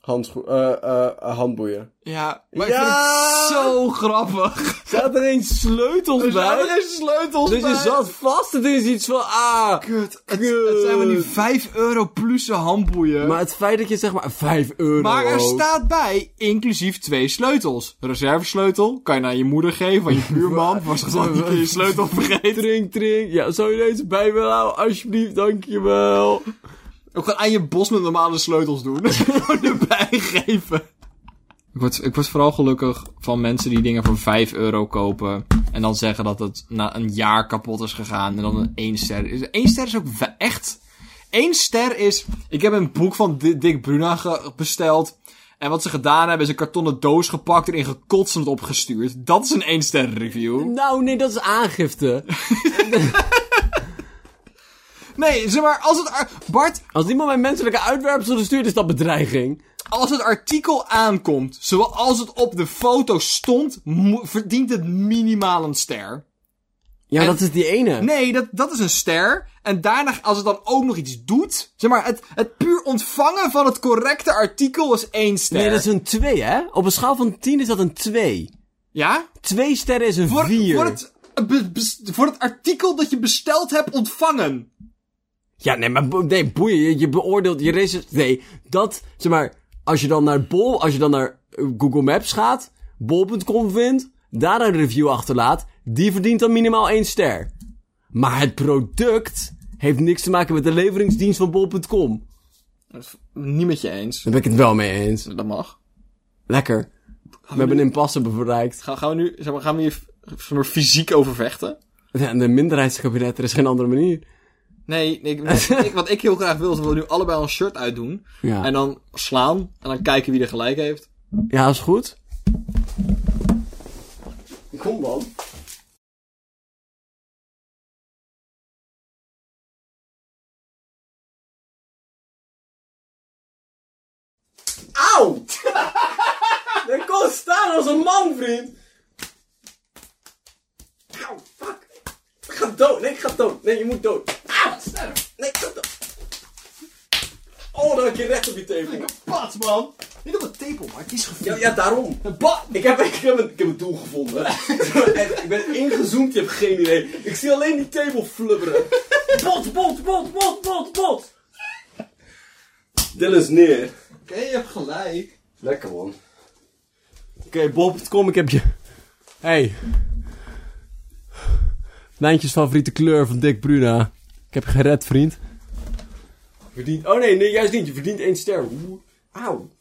Speaker 1: Handschoen, eh, eh, handboeien.
Speaker 2: Ja, maar ik vind
Speaker 1: Ja!
Speaker 2: het zo grappig.
Speaker 1: Staat er geen sleutels
Speaker 2: Er
Speaker 1: bij?
Speaker 2: zaten Dus geen sleutels
Speaker 1: dus
Speaker 2: bij.
Speaker 1: je zat vast, het is iets van, ah...
Speaker 2: Kut, het, het zijn wel nu
Speaker 1: Kut.
Speaker 2: 5 euro plus een handboeien.
Speaker 1: Maar
Speaker 2: Maar, Oh.
Speaker 1: het feit dat je zeg maar 5 euro...
Speaker 2: er
Speaker 1: ook-
Speaker 2: staat bij, inclusief twee sleutels. Reservesleutel, kan je naar je moeder geven, van je buurman. Was gewoon een keer je sleutel vergeten.
Speaker 1: Trink, trink. Ja, zou je deze bij willen houden? Alsjeblieft, dankjewel.
Speaker 2: Ook gewoon aan je bos met normale sleutels doen. Gewoon erbij geven. Ik word, ik word vooral gelukkig van mensen die dingen voor 5 euro kopen. En dan zeggen dat het na een jaar kapot is gegaan. En dan een 1 ster. 1 ster is ook we- echt. 1 ster is. Ik heb een boek van Di- Dick Bruna ge- besteld. En wat ze gedaan hebben is een kartonnen doos gepakt. Erin gekotst en het opgestuurd. Dat is een 1 ster review.
Speaker 1: Nou, nee, dat is aangifte.
Speaker 2: Nee, zeg maar. Als het. ar- Bart,
Speaker 1: Als iemand mijn menselijke uitwerpselen stuurt, is dat bedreiging.
Speaker 2: Als het artikel aankomt, zoals het op de foto stond, mo- verdient het minimaal een ster.
Speaker 1: Ja, dat is die ene.
Speaker 2: Nee, dat, dat is een ster. En daarna, als het dan ook nog iets doet, zeg maar, het, het puur ontvangen van het correcte artikel is één ster.
Speaker 1: Nee, dat is een 2, hè? Op een schaal van 10 is dat een 2.
Speaker 2: Ja?
Speaker 1: 2 sterren is een
Speaker 2: Voor, eh,
Speaker 1: 4.
Speaker 2: voor, het, be- bes- voor het artikel dat je besteld hebt ontvangen.
Speaker 1: Ja, nee, maar bo- nee, boeien. Je, je beoordeelt, je racist. Nee, dat, zeg maar, als je dan naar Bol, als je dan naar eh, Google Maps gaat, bol.com vindt, daar een review achterlaat, die verdient dan minimaal één ster. Maar het product heeft niks te maken met de leveringsdienst van bol.com.
Speaker 2: Niet met je eens.
Speaker 1: Daar ben ik het wel mee eens.
Speaker 2: Dat mag.
Speaker 1: Lekker. We hebben een impasse bereikt.
Speaker 2: Ga, gaan we nu, zeg maar, gaan we hier zeg maar, fysiek over vechten?
Speaker 1: Ja, en de minderheidskabinet, er is geen andere manier.
Speaker 2: Nee, ik, ik- wat ik heel graag wil, is dat we nu allebei ons shirt uitdoen.
Speaker 1: Ja.
Speaker 2: En dan slaan. En dan kijken wie er gelijk heeft.
Speaker 1: Ja, is goed. Kom dan. Auw! Ik kon staan als een man, vriend. Auw, fuck. Ik ga dood. Nee, ik ga dood. Nee, je moet dood. Auw, sneller. Nee, ik ga dood. Oh, dan heb je recht op je tepel.
Speaker 2: Pats, man! Niet op de tepel, maar het is gevoel.
Speaker 1: Ja, ja daarom. Ik heb, ik, heb een, ik heb een doel gevonden. Echt, ik ben ingezoomd, je hebt geen idee. Ik zie alleen die table flubberen. Bot, bot, bot, bot, bot, bot. Dylan's neer.
Speaker 2: Oké, je hebt gelijk.
Speaker 1: Lekker man. Oké, Bob.com, ik heb je. Hey. Nijntjes favoriete kleur van Dick Bruna. Ik heb je gered, vriend. Verdient... Oh nee, nee, juist niet. Je verdient één ster. Oeh. Auw.